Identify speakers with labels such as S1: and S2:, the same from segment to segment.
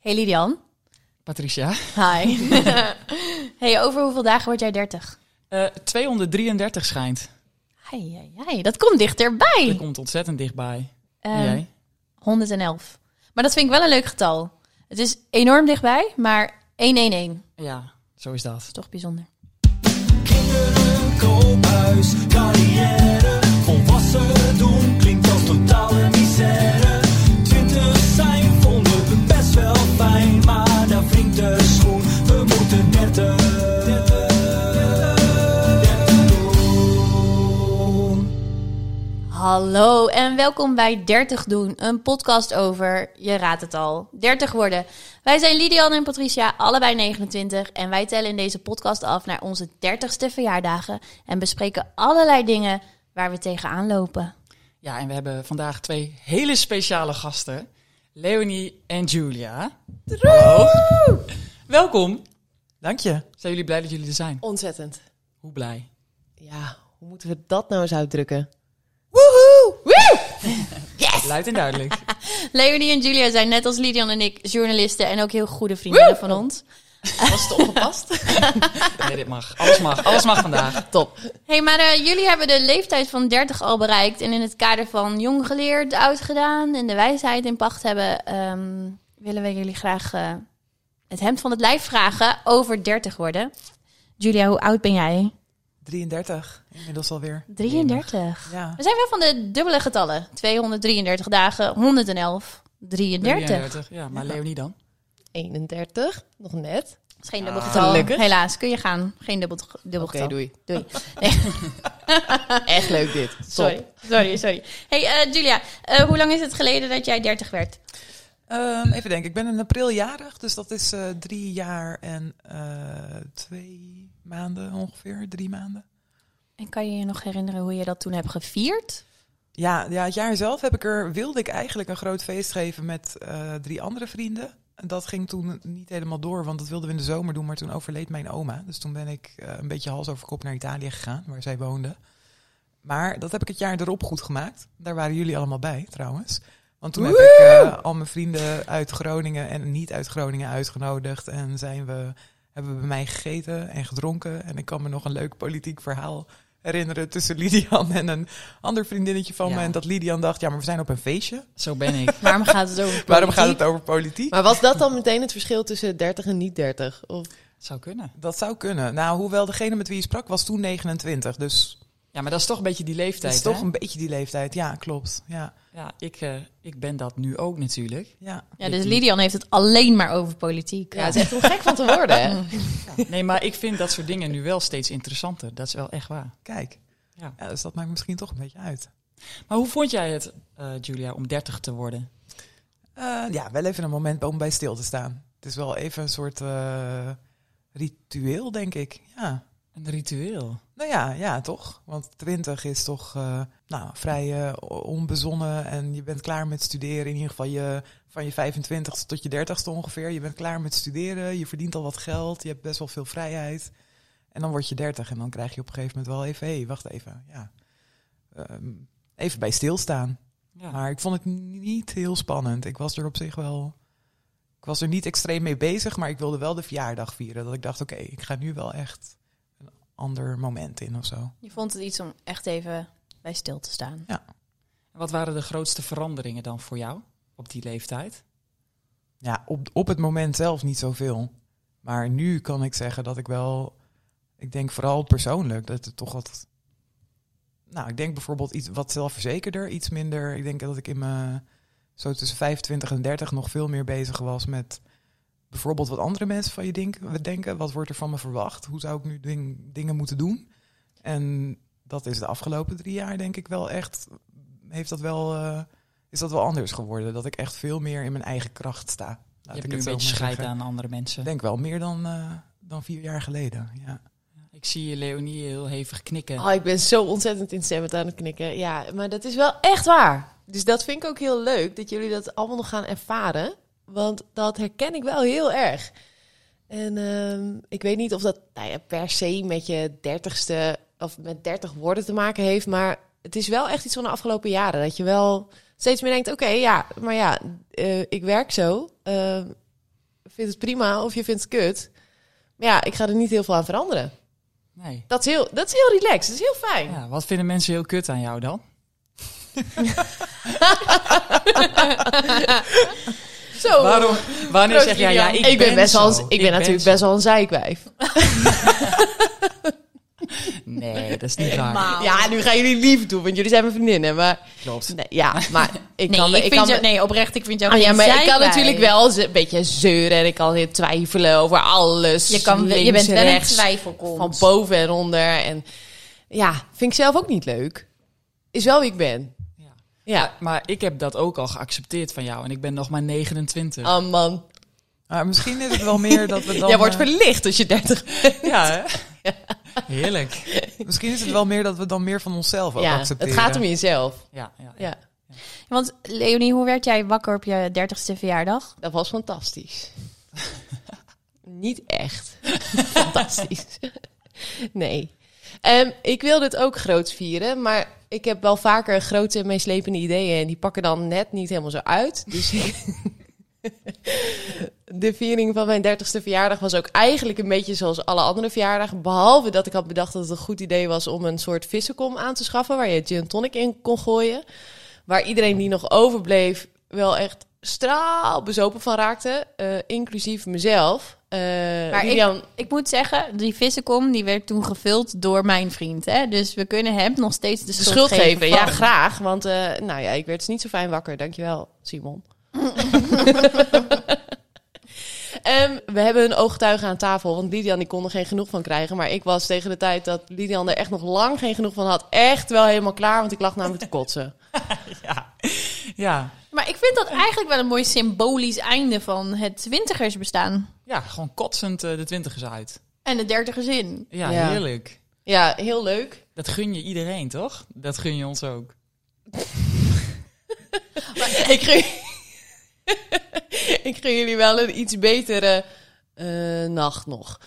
S1: Hey Lidian.
S2: Patricia.
S1: Hi. hey, over hoeveel dagen word jij 30?
S2: Eh, 233 schijnt.
S1: Hai, hai, hai. Dat komt dichterbij.
S2: Dat komt ontzettend dichtbij. En
S1: Ehm,
S2: jij?
S1: 111. Maar dat vind ik wel een leuk getal. Het is enorm dichtbij, maar 111. Dat
S2: Ja, zo is dat.
S1: is toch bijzonder.
S3: Kinderen, koophuis, carrière. Volwassen doen klinkt als totale misère. Twintig zijn vonden we best wel fijn, maar daar wringt de schoen. We moeten dertig, dertig, dertig doen.
S1: Hallo en welkom bij 30 doen, een podcast over, je raadt het al, 30 worden. Wij zijn Lidian en Patricia, allebei 29 en wij tellen in deze podcast af naar onze 30ste verjaardagen en bespreken allerlei dingen waar we tegenaan lopen.
S2: Ja, en we hebben vandaag twee hele speciale gasten. Leonie en Julia. Hallo. Welkom.
S4: Dank je.
S2: Zijn jullie blij dat jullie er zijn?
S4: Ontzettend.
S2: Hoe blij?
S4: Ja, hoe moeten we dat nou eens uitdrukken?
S2: Luid en duidelijk.
S1: Leonie en Julia zijn net als Lidian en ik journalisten en ook heel goede vrienden van ons.
S4: Was het opgepast?
S2: Nee, dit mag. Alles mag. Alles mag vandaag.
S4: Top.
S1: hey, maar eh, jullie hebben de leeftijd van 30 al bereikt. En in het kader van jong geleerd, oud gedaan en de wijsheid in pacht hebben, ehm, willen we jullie graag eh, het hemd van het lijf vragen over 30 worden. Julia, hoe oud ben jij?
S5: 33, inmiddels alweer.
S1: 33.
S5: Ja.
S1: We zijn wel van de dubbele getallen: 233 dagen, 111, 33.
S2: 33. Ja, maar Leonie dan?
S4: 31, nog net.
S1: Dat is geen dubbel getal.
S4: Ah. Gelukkig.
S1: Helaas, kun je gaan. Geen dubbel, dubbel
S4: Oké,
S1: getal.
S4: doei.
S1: Doei.
S4: Echt leuk dit. Top.
S1: Sorry, sorry, sorry. Hey eh, Julia, eh, hoe lang is het geleden dat jij 30 werd?
S5: Ehm, even denken, ik ben in april jarig, dus dat is eh, drie jaar en eh, twee maanden ongeveer, drie maanden.
S1: En kan je je nog herinneren hoe je dat toen hebt gevierd?
S5: Ja, ja, het jaar zelf heb ik er, wilde ik eigenlijk een groot feest geven met eh, drie andere vrienden. En dat ging toen niet helemaal door, want dat wilden we in de zomer doen, maar toen overleed mijn oma. Dus toen ben ik eh, een beetje hals over kop naar Italië gegaan, waar zij woonde. Maar dat heb ik het jaar erop goed gemaakt. Daar waren jullie allemaal bij, trouwens. Want toen heb ik eh, al mijn vrienden uit Groningen en niet uit Groningen uitgenodigd. En zijn we, hebben we bij mij gegeten en gedronken. En ik kan me nog een leuk politiek verhaal herinneren tussen Lidian en een ander vriendinnetje van
S2: Ja.
S5: me. En dat Lidian dacht, ja, maar we zijn op een feestje.
S2: Zo ben ik.
S1: Waarom gaat het over
S5: Waarom gaat het over politiek?
S4: Maar was dat dan meteen het verschil tussen 30 en niet 30? Of...
S2: Zou kunnen.
S5: Dat zou kunnen. Nou, hoewel degene met wie je sprak was toen 29. Dus
S2: Ja, maar dat is toch een beetje die leeftijd.
S5: dat is toch
S2: hè?
S5: een beetje die leeftijd. Ja, klopt. Ja,
S2: Ja, ik, eh, ik ben dat nu ook natuurlijk.
S5: ja.
S1: Ja, dus Lidian heeft het alleen maar over politiek.
S4: Ja, het is echt om gek van te worden. hè?
S2: Nee, maar ik vind dat soort dingen nu wel steeds interessanter. Dat is wel echt waar.
S5: kijk.
S2: Ja.
S5: Ja. dus dat maakt misschien toch een beetje uit.
S2: Maar hoe vond jij het, eh, Julia, om 30 te worden?
S5: Eh, ja, wel even een moment om bij stil te staan. Het is wel even een soort eh, ritueel, denk ik. Ja.
S2: Een ritueel.
S5: Nou ja, ja, toch? Want 20 is toch eh, nou, vrij eh, onbezonnen en je bent klaar met studeren. In ieder geval je, van je 25ste tot je 30ste ongeveer. Je bent klaar met studeren, je verdient al wat geld, je hebt best wel veel vrijheid. En dan word je 30 en dan krijg je op een gegeven moment wel even, hé, hey, wacht even. Ja. Ehm, even bij stilstaan.
S2: Ja.
S5: Maar ik vond het niet heel spannend. Ik was er op zich wel. Ik was er niet extreem mee bezig, maar ik wilde wel de verjaardag vieren. Dat ik dacht, oké, ik ga nu wel echt een ander moment in of zo.
S1: Je vond het iets om echt even bij stil te staan.
S2: En Wat waren de grootste veranderingen dan voor jou op die leeftijd?
S5: Ja, op, op het moment zelf niet zoveel. Maar nu kan ik zeggen dat ik wel. Ik denk vooral persoonlijk dat het toch wat. Nou, ik denk bijvoorbeeld iets wat zelfverzekerder, iets minder. Ik denk dat ik in mijn. Zo tussen 25 en 30 nog veel meer bezig was met. Bijvoorbeeld wat andere mensen van je denken. denken wat wordt er van me verwacht? Hoe zou ik nu ding- dingen moeten doen? En dat is de afgelopen drie jaar, denk ik wel echt. Heeft dat wel. eh, is dat wel anders geworden? Dat ik echt veel meer in mijn eigen kracht sta. Laat
S2: Je hebt nu
S5: ik
S2: een
S5: het zo
S2: beetje
S5: maar
S2: scheid
S5: zeggen.
S2: aan andere mensen.
S5: Ik denk wel meer dan, eh, dan vier jaar geleden. Ja.
S2: Ik zie je Leonie heel hevig knikken.
S4: Ah, ik ben zo ontzettend instemmend aan het knikken. Ja, maar dat is wel echt waar. Dus dat vind ik ook heel leuk, dat jullie dat allemaal nog gaan ervaren. Want dat herken ik wel heel erg. En ehm, ik weet niet of dat nou ja, per se met je dertigste of met dertig woorden te maken heeft. Maar het is wel echt iets van de afgelopen jaren. Dat je wel steeds meer denkt, oké, ja, maar ja, eh, ik werk zo. eh, vindt het prima of je vindt het kut. Maar ja, ik ga er niet heel veel aan veranderen.
S2: Nee.
S4: Dat is heel, dat is heel relaxed. Dat is heel fijn.
S2: Ja, wat vinden mensen heel kut aan jou dan?
S4: Zo.
S2: Waarom, wanneer
S4: Proost,
S2: zeg jij, ja,
S4: Lilian.
S2: ik,
S4: ben, best wel,
S2: zo.
S4: Oh. ik, ben natuurlijk
S2: zo.
S4: best wel een zeikwijf.
S2: Nee, dat is niet waar.
S1: Helemaal.
S4: Ja, nu gaan jullie lief doen, want jullie zijn mijn vriendinnen. Maar
S2: Klopt.
S4: nee, ja, maar ik
S1: nee,
S4: kan,
S1: ik, vind
S4: kan
S1: jou- nee, oprecht, ik vind jou
S4: Ah, ja,
S1: geen
S4: maar ik kan
S1: zijkwijf.
S4: natuurlijk wel ze- een beetje zeuren en ik kan weer twijfelen over alles.
S1: Je, kan,
S4: links
S1: je bent
S4: en
S1: wel een
S4: rechts,
S1: twijfelkont.
S4: van boven en onder. En ja, vind ik zelf ook niet leuk. Is wel wie ik ben.
S2: Ja.
S4: Ja,
S2: Maar ik heb dat ook al geaccepteerd van jou en ik ben nog maar 29.
S4: ah man.
S5: Maar misschien is het wel meer dat we dan...
S4: Jij wordt
S5: eh,
S4: verlicht als je 30 bent.
S2: Ja, hè? Heerlijk.
S5: Misschien is het wel meer dat we dan meer van onszelf ook
S4: Ja, het
S5: accepteren.
S4: gaat om jezelf.
S2: Ja, ja, ja.
S4: Ja,
S1: Want Leonie, hoe werd jij wakker op je 30ste verjaardag?
S4: dat was fantastisch. niet echt. fantastisch. nee. Ehm, ik wil dit ook groot vieren, maar ik heb wel vaker grote en meeslepende ideeën. En die pakken dan net niet helemaal zo uit. Dus ik... de viering van mijn 30ste verjaardag was ook eigenlijk een beetje zoals alle andere verjaardagen. Behalve dat ik had bedacht dat het een goed idee was om een soort vissenkom aan te schaffen. Waar je gin en tonic in kon gooien. Waar iedereen die nog overbleef wel echt straalbezopen van raakte. eh, inclusief mezelf. Eh
S1: Maar ik-
S4: Lilian-
S1: Ik moet zeggen, die vissenkom die werd toen gevuld door mijn vriend. Hè? Dus we kunnen hem nog steeds de
S4: de
S1: schuld,
S4: schuld geven. Ja,
S1: van-
S4: graag. Want eh, nou ja, ik werd dus niet zo fijn wakker. Dankjewel, Simon. Ehm, we hebben een ooggetuige aan tafel, want Lidian die kon er geen genoeg van krijgen. Maar ik was tegen de tijd dat Lidian er echt nog lang geen genoeg van had, echt wel helemaal klaar, want ik lag namelijk te kotsen.
S2: Ja. ja.
S1: Maar ik vind dat eigenlijk wel een mooi symbolisch einde van het twintigersbestaan.
S2: Ja, gewoon kotsend eh, de twintigers uit.
S1: En de dertigers in.
S2: Ja,
S4: Ja.
S2: heerlijk.
S4: Ja, heel leuk.
S2: Dat gun je iedereen, toch? Dat gun je ons ook.
S4: ik, gun... ik gun jullie wel een iets betere eh, nacht nog.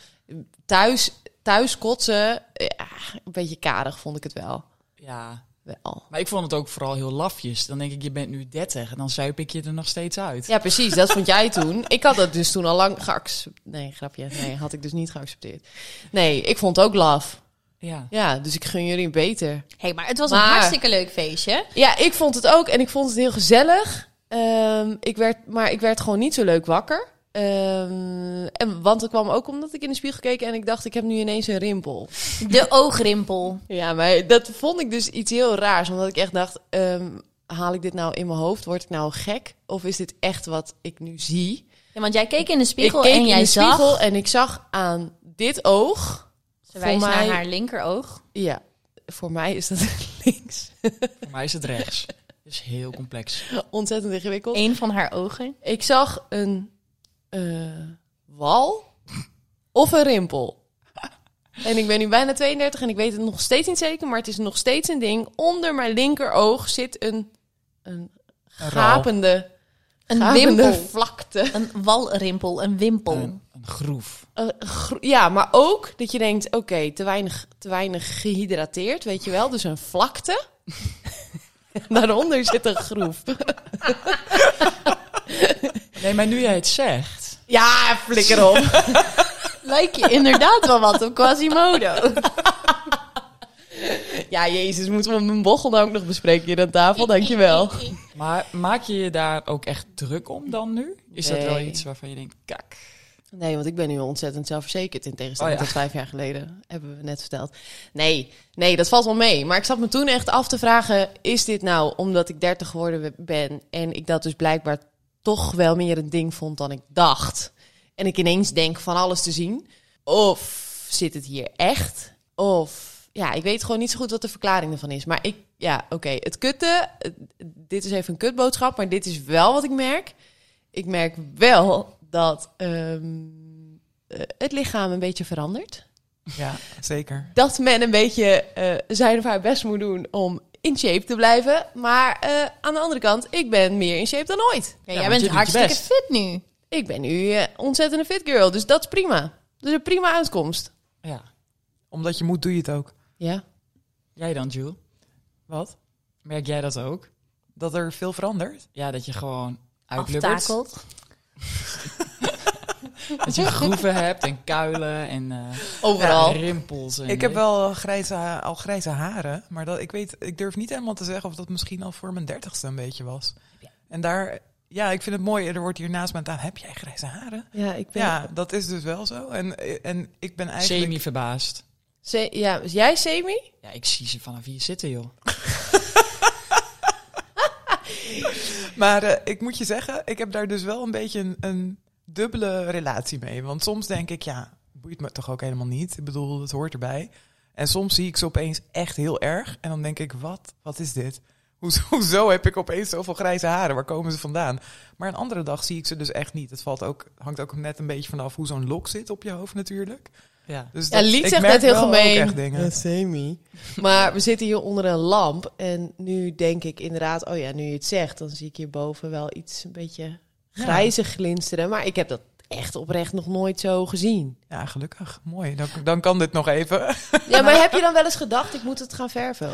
S4: Thuis, thuis kotsen, ja, een beetje karig vond ik het wel.
S2: Ja.
S4: wel.
S2: Maar ik vond het ook vooral heel lafjes. Dan denk ik, je bent nu 30 en dan zuip ik je er nog steeds uit.
S4: Ja, precies. Dat vond jij toen. Ik had dat dus toen al lang geaccepteerd. Nee, grapje. Nee, had ik dus niet geaccepteerd. Nee, ik vond ook love.
S2: Ja.
S4: Ja, dus ik gun jullie beter.
S1: hey, maar het was een
S4: Maar-
S1: hartstikke leuk feestje.
S4: Ja, ik vond het ook en ik vond het heel gezellig. Ehm, ik werd, maar ik werd gewoon niet zo leuk wakker. Ehm, en, want het kwam ook omdat ik in de spiegel keek en ik dacht, ik heb nu ineens een rimpel.
S1: De oogrimpel.
S4: Ja, maar dat vond ik dus iets heel raars. Omdat ik echt dacht, ehm, haal ik dit nou in mijn hoofd? Word ik nou gek? Of is dit echt wat ik nu zie?
S1: Ja, want jij keek in de spiegel
S4: ik keek
S1: en jij
S4: in de
S1: zag...
S4: spiegel en ik zag aan dit oog.
S1: Ze wijst
S4: Voor mij-
S1: naar haar linkeroog.
S4: Ja, voor mij is dat links.
S2: Voor mij is het rechts. Dat is heel complex.
S4: Ontzettend ingewikkeld.
S1: Eén van haar ogen.
S4: Ik zag een eh, wal of een rimpel. En ik ben nu bijna 32 en ik weet het nog steeds niet zeker, maar het is nog steeds een ding. Onder mijn linkeroog zit een, een
S5: Een raal.
S4: gapende,
S1: Een
S4: gapende
S1: wimpel.
S4: vlakte.
S1: Een walrimpel, een wimpel.
S2: Een, een groef.
S4: Eh, gro- ja, maar ook dat je denkt, oké, te, weinig, te weinig gehydrateerd, weet je wel. Dus een vlakte. Daaronder zit een groef.
S2: Nee, maar nu jij het zegt.
S4: Ja, flikker op.
S1: Lijk je inderdaad wel wat op Quasimodo.
S4: Ja, jezus, moeten we mijn bochel nou ook nog bespreken hier aan tafel? Dankjewel.
S2: Maar maak je je daar ook echt druk om dan nu? Is dat wel
S4: Nee.
S2: iets waarvan je denkt, kak.
S4: Nee, want ik ben nu ontzettend zelfverzekerd in tegenstelling
S2: Oh ja.
S4: tot vijf jaar geleden. Hebben we net verteld. Nee, nee, dat valt wel mee. Maar ik zat me toen echt af te vragen, is dit nou omdat ik dertig geworden we- ben... en ik dat dus blijkbaar toch wel meer een ding vond dan ik dacht... en ik ineens denk van alles te zien? Of zit het hier echt? Of... Ja, ik weet gewoon niet zo goed wat de verklaring ervan is. Maar ik, ja, oké. Het kutte, eh, dit is even een kutboodschap, maar dit is wel wat ik merk ik merk wel dat ehm, eh, het lichaam een beetje verandert.
S5: Ja, zeker.
S4: Dat men een beetje eh, zijn of haar best moet doen om in shape te blijven. Maar eh, aan de andere kant, ik ben meer in shape dan ooit.
S1: Ja,
S2: Ja,
S1: jij
S2: want je doet
S1: bent
S2: je
S1: hartstikke
S2: best.
S1: fit nu.
S4: Ik ben nu eh, ontzettend een fit girl, dus dat is prima. Dat is een prima uitkomst.
S2: Ja.
S5: Omdat je moet, doe je het ook.
S4: Ja.
S2: Jij dan, Jules?
S5: Wat?
S2: Merk jij dat ook?
S5: Dat er veel verandert?
S2: Ja, dat je gewoon uitlubbert.
S1: Aftakeld.
S2: Dat je groeven hebt en kuilen en eh,
S4: Overal.
S2: rimpels. En
S5: Ik heb wel grijze, ha- al grijze haren, maar dat, ik, weet, ik durf niet helemaal te zeggen of dat misschien al voor mijn dertigste een beetje was. En daar, ja, ik vind het mooi. Er wordt hier naast me aan tafel, heb jij grijze haren?
S4: Ja, ik ben...
S5: Ja, dat is dus wel zo. En, en ik ben eigenlijk...
S2: Semi-verbaasd.
S4: Se- ja, is jij Semi?
S2: Ja, ik zie ze vanaf hier zitten, joh.
S5: Maar eh, ik moet je zeggen, ik heb daar dus wel een beetje een, een dubbele relatie mee. Want soms denk ik, ja, boeit me toch ook helemaal niet. Ik bedoel, het hoort erbij. En soms zie ik ze opeens echt heel erg. En dan denk ik, wat? Wat is dit? Hoezo, hoezo heb ik opeens zoveel grijze haren? Waar komen ze vandaan? Maar een andere dag zie ik ze dus echt niet. Het valt ook, hangt ook net een beetje vanaf hoe zo'n lok zit op je hoofd natuurlijk.
S2: Ja.
S5: Dus
S4: Ja, Liek
S5: ik
S4: zegt
S5: merk
S4: net heel
S5: wel ook
S4: gemeen.
S5: echt dingen.
S4: Ja, Semi. Maar we zitten hier onder een lamp. En nu denk ik inderdaad, oh ja, nu je het zegt, dan zie ik hierboven wel iets een beetje grijzig glinsteren. Maar ik heb dat echt oprecht nog nooit zo gezien.
S5: Ja, gelukkig. Mooi. Dan, dan kan dit nog even.
S4: Ja, maar heb je dan wel eens gedacht, ik moet het gaan verven?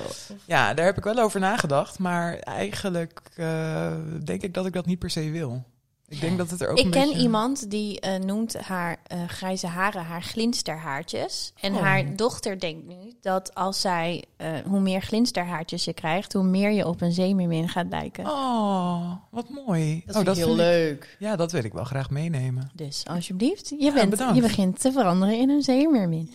S5: Ja, daar heb ik wel over nagedacht. Maar eigenlijk eh, denk ik dat ik dat niet per se wil. Ik denk dat het er ook
S1: Ik
S5: een
S1: ken
S5: beetje-
S1: iemand die eh, noemt haar eh, grijze haren haar glinsterhaartjes. En
S5: Oh.
S1: haar dochter denkt nu dat als zij, eh, hoe meer glinsterhaartjes je krijgt, hoe meer je op een zeemeermin gaat lijken.
S5: Oh, wat mooi.
S4: Dat
S5: oh,
S4: vind ik heel
S5: vind ik-
S4: leuk.
S5: Ja, dat wil ik wel graag meenemen.
S1: Dus alsjeblieft, je, bent,
S5: bedankt.
S1: je begint te veranderen in een zeemeermin.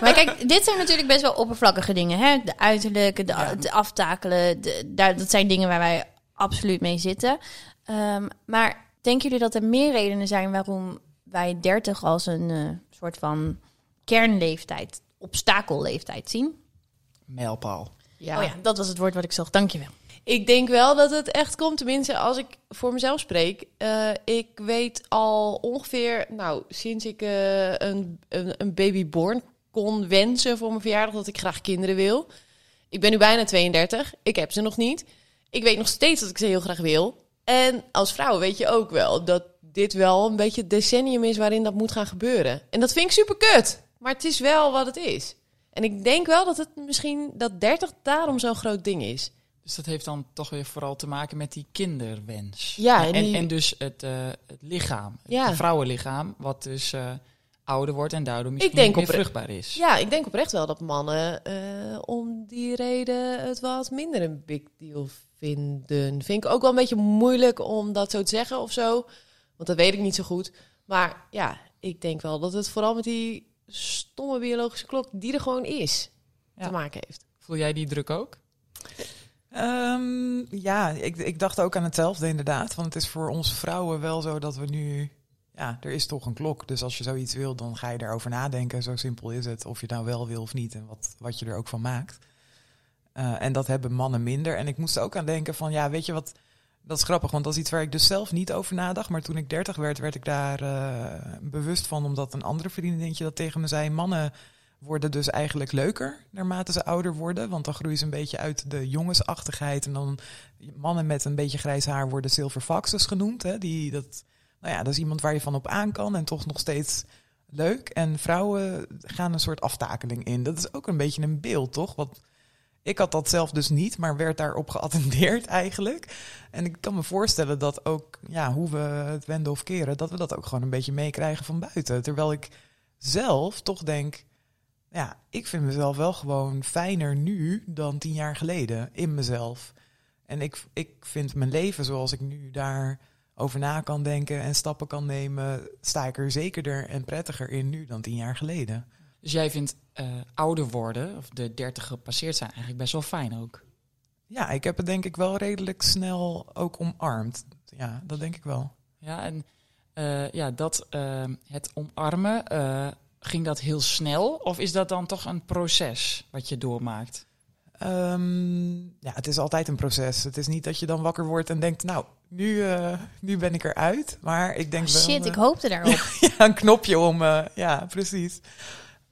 S1: maar kijk, dit zijn natuurlijk best wel oppervlakkige dingen. Hè? De uiterlijke, de,
S5: Ja.
S1: de aftakelen, de, daar, dat zijn dingen waar wij absoluut mee zitten. Ehm, maar denken jullie dat er meer redenen zijn waarom wij 30 als een eh, soort van kernleeftijd, obstakelleeftijd zien?
S2: Mijlpaal.
S4: Ja.
S1: Oh ja, dat was het woord wat ik zocht. Dankjewel.
S4: Ik denk wel dat het echt komt, tenminste als ik voor mezelf spreek. Eh, ik weet al ongeveer, nou, sinds ik eh, een, een, een baby born kon wensen voor mijn verjaardag, dat ik graag kinderen wil. Ik ben nu bijna 32, ik heb ze nog niet. Ik weet nog steeds dat ik ze heel graag wil. En als vrouw weet je ook wel dat dit wel een beetje het decennium is waarin dat moet gaan gebeuren. En dat vind ik super kut, maar het is wel wat het is. En ik denk wel dat het misschien dat 30 daarom zo'n groot ding is.
S2: Dus dat heeft dan toch weer vooral te maken met die kinderwens.
S4: Ja, en
S2: en,
S4: die-
S2: en, dus het, eh, het lichaam,
S4: Ja.
S2: het vrouwenlichaam, wat dus eh, ouder wordt en daardoor misschien niet
S4: denk op-
S2: meer vruchtbaar is.
S4: Ja, ik denk oprecht wel dat mannen eh, om die reden het wat minder een big deal vinden. Vind ik ook wel een beetje moeilijk om dat zo te zeggen of zo. Want dat weet ik niet zo goed. Maar ja, ik denk wel dat het vooral met die stomme biologische klok die er gewoon is
S2: Ja.
S4: te maken heeft.
S2: Voel jij die druk ook?
S5: Ehm, ja, ik, ik dacht ook aan hetzelfde inderdaad. Want het is voor ons vrouwen wel zo dat we nu... Ja, er is toch een klok. Dus als je zoiets wil, dan ga je daarover nadenken. Zo simpel is het. Of je het nou wel wil of niet. En wat, wat je er ook van maakt. Eh, en dat hebben mannen minder. En ik moest er ook aan denken van... Ja, weet je wat... Dat is grappig, want dat is iets waar ik dus zelf niet over nadacht. Maar toen ik dertig werd, werd ik daar eh, bewust van. Omdat een andere vriendinnetje dat tegen me zei. Mannen worden dus eigenlijk leuker naarmate ze ouder worden. Want dan groeien ze een beetje uit de jongensachtigheid. En dan mannen met een beetje grijs haar worden silver foxes genoemd. Hè? Die, dat, nou ja, dat is iemand waar je van op aan kan en toch nog steeds leuk. En vrouwen gaan een soort aftakeling in. Dat is ook een beetje een beeld, toch? Want ik had dat zelf dus niet, maar werd daarop geattendeerd eigenlijk. En ik kan me voorstellen dat ook, ja, hoe we het wenden of keren, dat we dat ook gewoon een beetje meekrijgen van buiten. Terwijl ik zelf toch denk, ja, ik vind mezelf wel gewoon fijner nu dan tien jaar geleden in mezelf. En ik, ik vind mijn leven zoals ik nu daar over na kan denken en stappen kan nemen, sta ik er zekerder en prettiger in nu dan tien jaar geleden.
S2: Dus jij vindt eh, ouder worden, of de dertig gepasseerd zijn, eigenlijk best wel fijn ook.
S5: Ja, ik heb het denk ik wel redelijk snel ook omarmd. Ja, dat denk ik wel.
S2: Ja, en eh, ja, dat eh, het omarmen, eh, ging dat heel snel? Of is dat dan toch een proces wat je doormaakt?
S5: Ehm, ja, het is altijd een proces. Het is niet dat je dan wakker wordt en denkt, nou, nu, eh, nu ben ik eruit. Maar ik denk
S1: Oh,
S5: wel...
S1: shit,
S5: eh,
S1: ik hoopte daarop.
S5: ja, een knopje om. eh, ja, precies.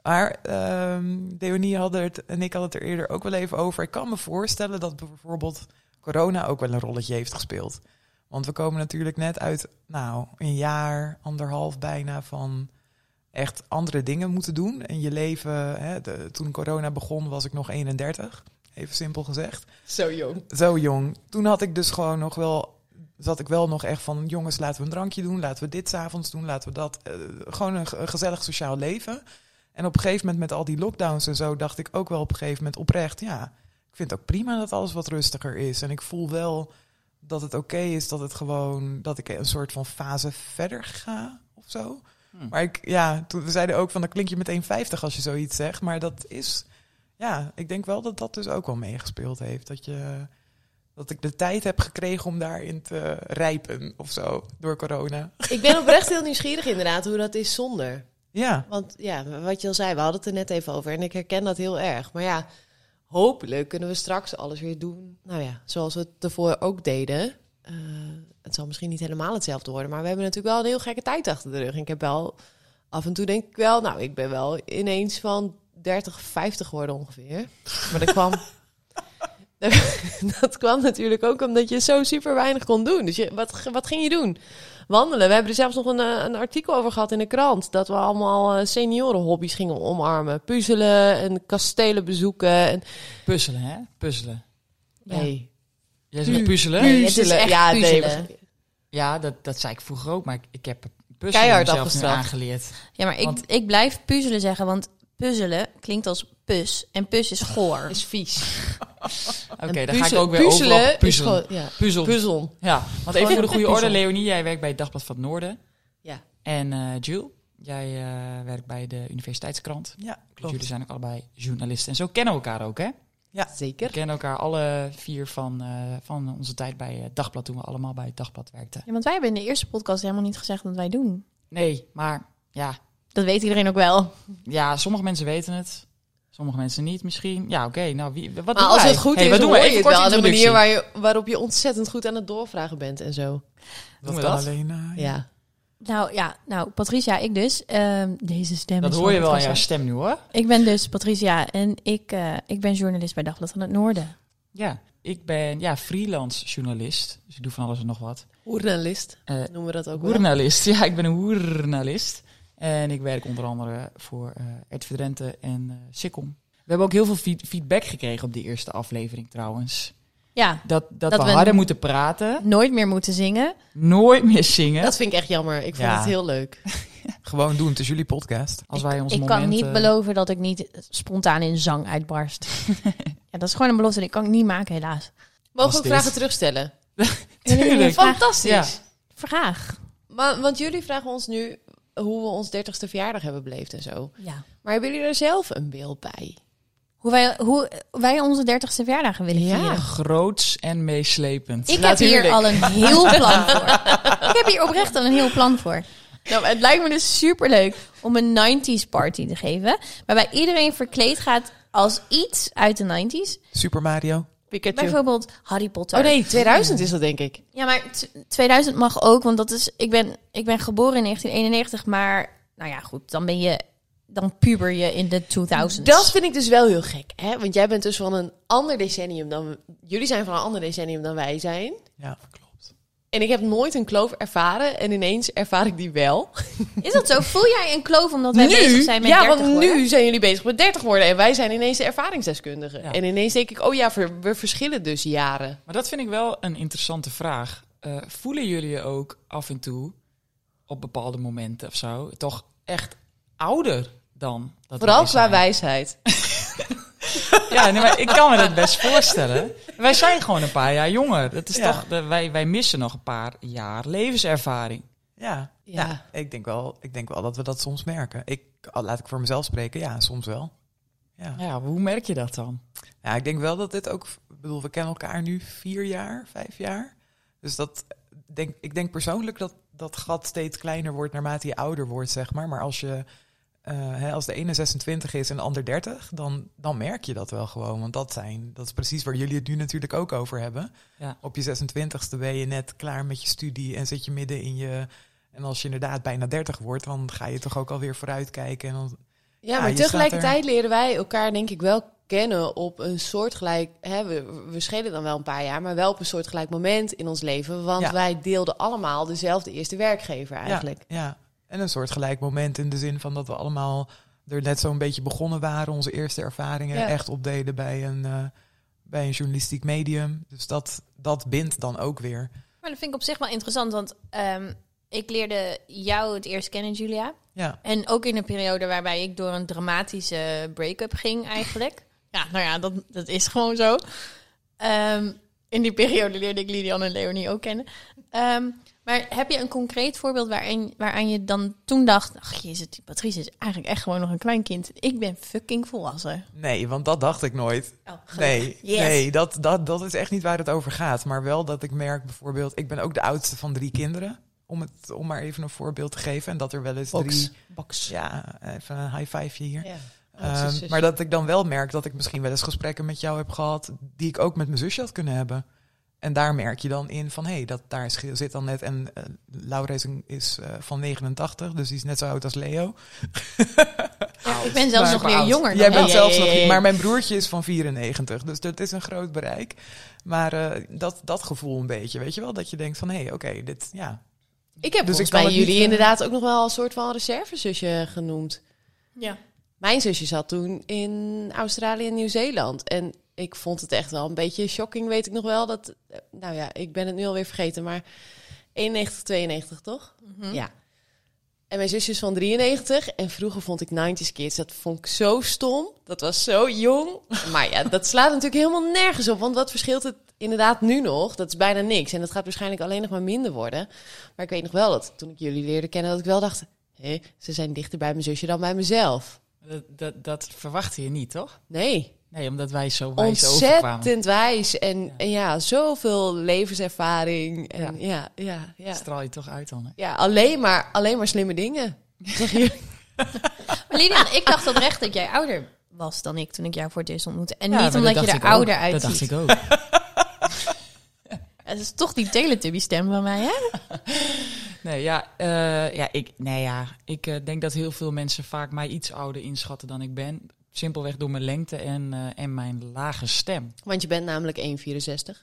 S5: Maar ehm Deonie had het en ik hadden het er eerder ook wel even over. Ik kan me voorstellen dat bijvoorbeeld corona ook wel een rolletje heeft gespeeld. Want we komen natuurlijk net uit, nou, een jaar, anderhalf bijna van echt andere dingen moeten doen. En je leven, hè, de- toen corona begon was ik nog 31, even simpel gezegd
S4: Zo jong.
S5: zo jong. Toen had ik dus gewoon nog wel zat ik wel nog echt van, jongens, laten we een drankje doen, laten we dit s'avonds doen, laten we dat. eh, gewoon een, ge- een gezellig sociaal leven. En op een gegeven moment met al die lockdowns en zo dacht ik ook wel op een gegeven moment oprecht, ja, ik vind het ook prima dat alles wat rustiger is. En ik voel wel dat het oké is dat het gewoon, dat ik een soort van fase verder ga of zo.
S2: Hm.
S5: Maar ik, ja, toen, we zeiden ook van, dan klink je meteen 50 als je zoiets zegt. Maar dat is, ja, ik denk wel dat dat dus ook wel meegespeeld heeft. Dat je, dat ik de tijd heb gekregen om daarin te rijpen of zo, door corona.
S4: Ik ben oprecht heel nieuwsgierig inderdaad hoe dat is zonder.
S5: Ja,
S4: Want ja, wat je al zei, we hadden het er net even over en ik herken dat heel erg. Maar ja, hopelijk kunnen we straks alles weer doen. Nou ja, zoals we het ervoor ook deden. Eh, het zal misschien niet helemaal hetzelfde worden, maar we hebben natuurlijk wel een heel gekke tijd achter de rug. En ik heb wel, af en toe denk ik wel, nou, ik ben wel ineens van 30, 50 geworden ongeveer. Maar dat kwam... Dat kwam natuurlijk ook omdat je zo super weinig kon doen. Dus je, wat, wat ging je doen? wandelen. We hebben er zelfs nog een, eh, een artikel over gehad in de krant. Dat we allemaal eh, seniorenhobby's gingen omarmen. Puzzelen en kastelen bezoeken. En,
S2: Puzzelen, hè? Puzzelen.
S1: Ja.
S4: Nee.
S2: Jij zegt puzzelen?
S1: Nee, het is echt
S4: ja, nee,
S1: puzzelen.
S4: maar-
S2: Ja, dat, dat zei ik vroeger ook, maar ik, ik heb puzzelen
S4: Keihard
S2: mezelf
S4: afgestraft.
S2: nu aangeleerd.
S1: Ja, maar ik,
S2: Want-
S1: ik blijf puzzelen zeggen, want puzzelen klinkt als pus. En pus is goor.
S4: is vies.
S2: Oké, dan
S4: En
S2: ga ik
S4: puzzel-
S2: ook weer puzzelen
S4: puzzelen
S2: overal
S4: is
S2: op puzzelen.
S4: gewoon- ja,
S2: Puzzel.
S4: puzzel.
S2: Ja, want even voor de goede
S4: Puzzel.
S2: orde, Leonie, jij werkt bij het Dagblad van het Noorden.
S4: Ja.
S2: En eh Jules, jij eh, werkt bij de Universiteitskrant.
S5: ja,
S2: Dus jullie
S5: klopt.
S2: zijn ook allebei journalisten. En zo kennen we elkaar ook, hè? We
S4: Zeker.
S2: kennen elkaar alle vier van, eh, van onze tijd bij het Dagblad, toen we allemaal bij het Dagblad werkten.
S1: Ja, want wij hebben in de eerste podcast helemaal niet gezegd wat wij doen.
S2: Nee, maar ja,
S1: Dat weet iedereen ook wel.
S2: ja sommige mensen weten het. Sommige mensen niet misschien. Ja, oké. nou, wie, wat
S4: Maar
S2: doen
S4: als
S2: wij?
S4: het goed
S2: Hey,
S4: is,
S2: wat
S4: dan
S2: doen
S4: hoor
S2: we?
S4: je
S2: Even
S4: het
S2: korte
S4: wel aan de
S2: introductie.
S4: manier waar je, waarop je ontzettend goed aan het doorvragen bent en zo.
S2: Doen
S5: Dat
S2: we
S5: kan
S2: dat?
S5: alleen. eh,
S4: Ja.
S1: Nou ja, nou Patricia, ik dus. Ehm, deze stem
S2: Dat
S1: is
S2: hoor je wel aan
S1: fantastisch.
S2: jouw stem nu, hoor.
S1: Ik ben dus Patricia en ik, eh, ik ben journalist bij Dagblad van het Noorden.
S2: Ja, ik ben ja, freelance journalist. Dus ik doe van alles en nog wat.
S4: Journalist
S2: Eh,
S4: noemen we dat ook wel.
S2: Journalist, ja, ik ben een journalist. En ik werk onder andere voor eh Ed Drenthe en eh Sikkom. We hebben ook heel veel feed- feedback gekregen op de eerste aflevering trouwens.
S1: Ja,
S2: Dat, dat,
S1: Dat
S2: we,
S1: we-
S2: harder moeten praten,
S1: nooit meer moeten zingen.
S2: nooit meer zingen.
S4: Dat vind ik echt jammer. Ik vond
S2: Ja.
S4: het heel leuk.
S5: Gewoon doen, het is jullie podcast.
S2: als wij ons
S1: ik
S2: momenten...
S1: kan niet beloven dat ik niet spontaan in zang uitbarst. ja, dat is gewoon een belofte die kan ik niet maken, helaas.
S4: Mogen
S2: Was
S4: we ook
S2: dit.
S4: vragen terugstellen?
S2: Tuurlijk.
S1: Vraag.
S4: Fantastisch.
S2: Ja.
S1: Vraag.
S4: Maar, want jullie vragen ons nu hoe we ons 30ste verjaardag hebben beleefd en zo.
S1: Ja.
S4: Maar hebben jullie er zelf een beeld bij?
S1: Hoe wij, hoe wij onze dertigste verjaardagen willen
S4: Ja.
S1: vieren.
S2: Groots en meeslepend.
S1: Ik heb
S4: Natuurlijk.
S1: hier al een heel plan voor. ik heb hier oprecht al een heel plan voor. Nou, het lijkt me dus superleuk om een 90s party te geven. Waarbij iedereen verkleed gaat als iets uit de 90s.
S5: Super Mario.
S4: Pikachu.
S1: Bijvoorbeeld Harry Potter.
S4: Oh nee, 2000 is dat denk ik.
S1: Ja, maar t- 2000 mag ook, want dat is. Ik ben, ik ben geboren in 1991, maar. Nou ja, goed, dan ben je. Dan puber je in de 2000s.
S4: Dat vind ik dus wel heel gek, hè? Want jij bent dus van een ander decennium dan... Jullie zijn van een ander decennium dan wij zijn.
S5: Ja, klopt.
S4: En ik heb nooit een kloof ervaren en ineens ervaar ik die wel.
S1: Is dat zo? Voel jij een kloof omdat wij bezig zijn met
S4: ja,
S1: 30
S4: want
S1: worden?
S4: nu zijn jullie bezig met 30 worden en wij zijn ineens de ervaringsdeskundigen.
S2: Ja.
S4: En ineens denk ik, oh ja, ver- we verschillen dus jaren.
S2: Maar dat vind ik wel een interessante vraag. Eh, voelen jullie je ook af en toe, op bepaalde momenten of zo, toch echt ouder dan dat
S4: Vooral
S2: wij
S4: qua
S2: zijn?
S4: wijsheid.
S2: Ja, nee, maar ik kan me dat best voorstellen. Wij zijn gewoon een paar jaar jonger. Dat is
S5: Ja.
S2: toch, de- wij, wij missen nog een paar jaar levenservaring.
S5: Ja,
S4: Ja.
S5: ja. ik, denk wel, ik denk wel dat we dat soms merken. Ik, al laat ik voor mezelf spreken, ja, soms wel. Ja.
S2: Ja, hoe merk je dat dan?
S5: ja, ik denk wel dat dit ook... Ik bedoel, we kennen elkaar nu vier jaar, vijf jaar. Dus dat, denk, ik denk persoonlijk dat dat gat steeds kleiner wordt naarmate je ouder wordt, zeg maar. Maar als, je, eh, hè, als de ene 26 is en de ander 30, dan, dan merk je dat wel gewoon. Want dat, zijn, dat is precies waar jullie het nu natuurlijk ook over hebben.
S2: Ja.
S5: Op je 26ste ben je net klaar met je studie en zit je midden in je... En als je inderdaad bijna 30 wordt, dan ga je toch ook alweer vooruitkijken. En dan,
S4: Ja,
S5: Ja,
S4: maar
S5: je staat
S4: tegelijkertijd leren wij elkaar denk ik wel kennen op een soortgelijk... Hè, we, we schelen dan wel een paar jaar, maar wel op een soortgelijk moment in ons leven. Want
S5: Ja.
S4: wij deelden allemaal dezelfde eerste werkgever eigenlijk.
S5: Ja, ja, en een soort gelijk moment in de zin van dat we allemaal er net zo'n beetje begonnen waren. Onze eerste ervaringen
S4: Ja.
S5: echt opdeden bij een, eh, bij een journalistiek medium. Dus dat, dat bindt dan ook weer.
S1: Maar dat vind ik op zich wel interessant, want ehm, ik leerde jou het eerst kennen, Julia.
S5: Ja.
S1: En ook in een periode waarbij ik door een dramatische break-up ging eigenlijk. Ja, nou ja, dat, dat is gewoon zo. Ehm, in die periode leerde ik Lidian en Leonie ook kennen. Ehm, maar heb je een concreet voorbeeld waarin, waaraan je dan toen dacht... Ach jezus, die Patrice is eigenlijk echt gewoon nog een klein kind. Ik ben fucking volwassen.
S5: Nee, want dat dacht ik nooit.
S1: Oh,
S5: Nee,
S1: Yes.
S5: nee dat, dat, dat is echt niet waar het over gaat. Maar wel dat ik merk bijvoorbeeld, ik ben ook de oudste van drie kinderen. Om, het, om maar even een voorbeeld te geven. En dat er wel eens drie...
S4: Box.
S5: Ja, even een high five hier.
S4: Ja.
S1: Oh,
S5: Ehm, maar dat ik dan wel merk dat ik misschien wel eens gesprekken met jou heb gehad... die ik ook met mijn zusje had kunnen hebben. En daar merk je dan in van, hé, hey, dat daar is- zit dan net... en eh, Laura is, een- is eh, van 89, dus die is net zo oud als Leo.
S1: ik ben zelfs
S5: Maar-
S1: nog weer
S5: oud.
S1: jonger
S5: Jij
S1: dan
S5: bent
S1: jij.
S5: zelfs
S1: Ja, ja,
S5: nog...
S1: ja, ja.
S5: Maar mijn broertje is van 94, dus dat is een groot bereik. Maar eh, dat, dat gevoel een beetje, weet je wel? Dat je denkt van, hé, oké, dit... Ja,
S4: Ik heb
S5: Dus
S4: dus
S5: ik
S4: volgens
S5: kan
S4: mij
S5: het niet,
S4: jullie
S5: eh,
S4: inderdaad ook nog wel een soort van reservezusje genoemd.
S1: Ja.
S4: Mijn zusje zat toen in Australië en Nieuw-Zeeland. En ik vond het echt wel een beetje shocking, weet ik nog wel. Dat, eh, nou ja, ik ben het nu alweer vergeten, maar 91, 92 toch?
S1: Mhm.
S4: Ja. En mijn zusje is van 93 en vroeger vond ik 90s Kids. Dat vond ik zo stom. Dat was zo jong. Maar ja, dat slaat natuurlijk helemaal nergens op. Want wat verschilt het inderdaad nu nog? Dat is bijna niks. En dat gaat waarschijnlijk alleen nog maar minder worden. Maar ik weet nog wel dat toen ik jullie leerde kennen, dat ik wel dacht... Hé, ze zijn dichter bij mijn zusje dan bij mezelf.
S2: Dat, dat, dat verwachtte je niet, toch?
S4: Nee,
S2: Nee, omdat wij zo wijs overkwamen.
S4: ontzettend wijs. En ja. en ja, zoveel levenservaring. En ja, ja, ja. ja.
S2: Straal je toch uit dan, hè?
S4: alleen, maar, alleen maar slimme dingen.
S1: Maar Lidian, ik dacht oprecht dat jij ouder was dan ik toen ik jou voor het eerst ontmoette. En
S2: Ja, maar
S1: niet
S2: dat
S1: omdat je
S2: dacht
S1: er
S2: ik ook.
S1: ouder
S2: Dat
S1: uitziet.
S2: dacht ik ook.
S1: Het is toch die Teletubby stem van mij, hè?
S2: Nee, ja, eh, ja, ik, nee, ja. ik eh, denk dat heel veel mensen vaak mij iets ouder inschatten dan ik ben. Simpelweg door mijn lengte en, eh, en mijn lage stem.
S4: Want je bent namelijk 1,64.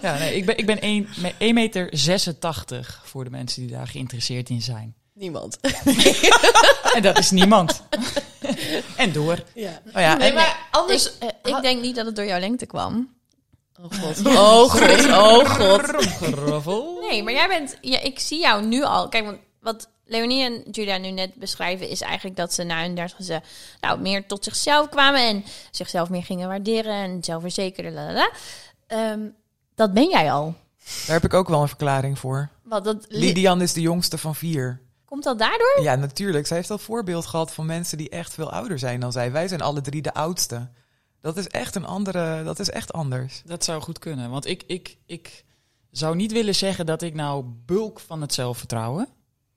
S2: Ja, nee, ik ben, ik ben 1, me- 1,86 meter voor de mensen die daar geïnteresseerd in zijn.
S4: Niemand.
S2: En dat is niemand. en door.
S4: Ja.
S5: oh ja
S1: Nee,
S5: en,
S1: maar anders... Ik,
S4: had-
S1: denk niet dat het door jouw lengte kwam.
S4: Oh god. Oh god. Oh god.
S2: Geroffel.
S1: Nee, maar jij bent... Ja, ik zie jou nu al. Kijk, want wat Leonie en Julia nu net beschrijven... is eigenlijk dat ze na hun dertigste... nou, meer tot zichzelf kwamen... en zichzelf meer gingen waarderen... en zelfverzekerder, la la la. Ehm, dat ben jij al.
S5: daar heb ik ook wel een verklaring voor.
S1: Wat, dat,
S5: Lidian is de jongste van vier.
S1: komt dat daardoor?
S5: Ja, natuurlijk. Zij heeft al voorbeeld gehad van mensen die echt veel ouder zijn dan zij. Wij zijn alle drie de oudste. Dat is echt een andere, dat is echt anders.
S2: Dat zou goed kunnen. Want ik, ik, ik zou niet willen zeggen dat ik nou bulk van het zelfvertrouwen.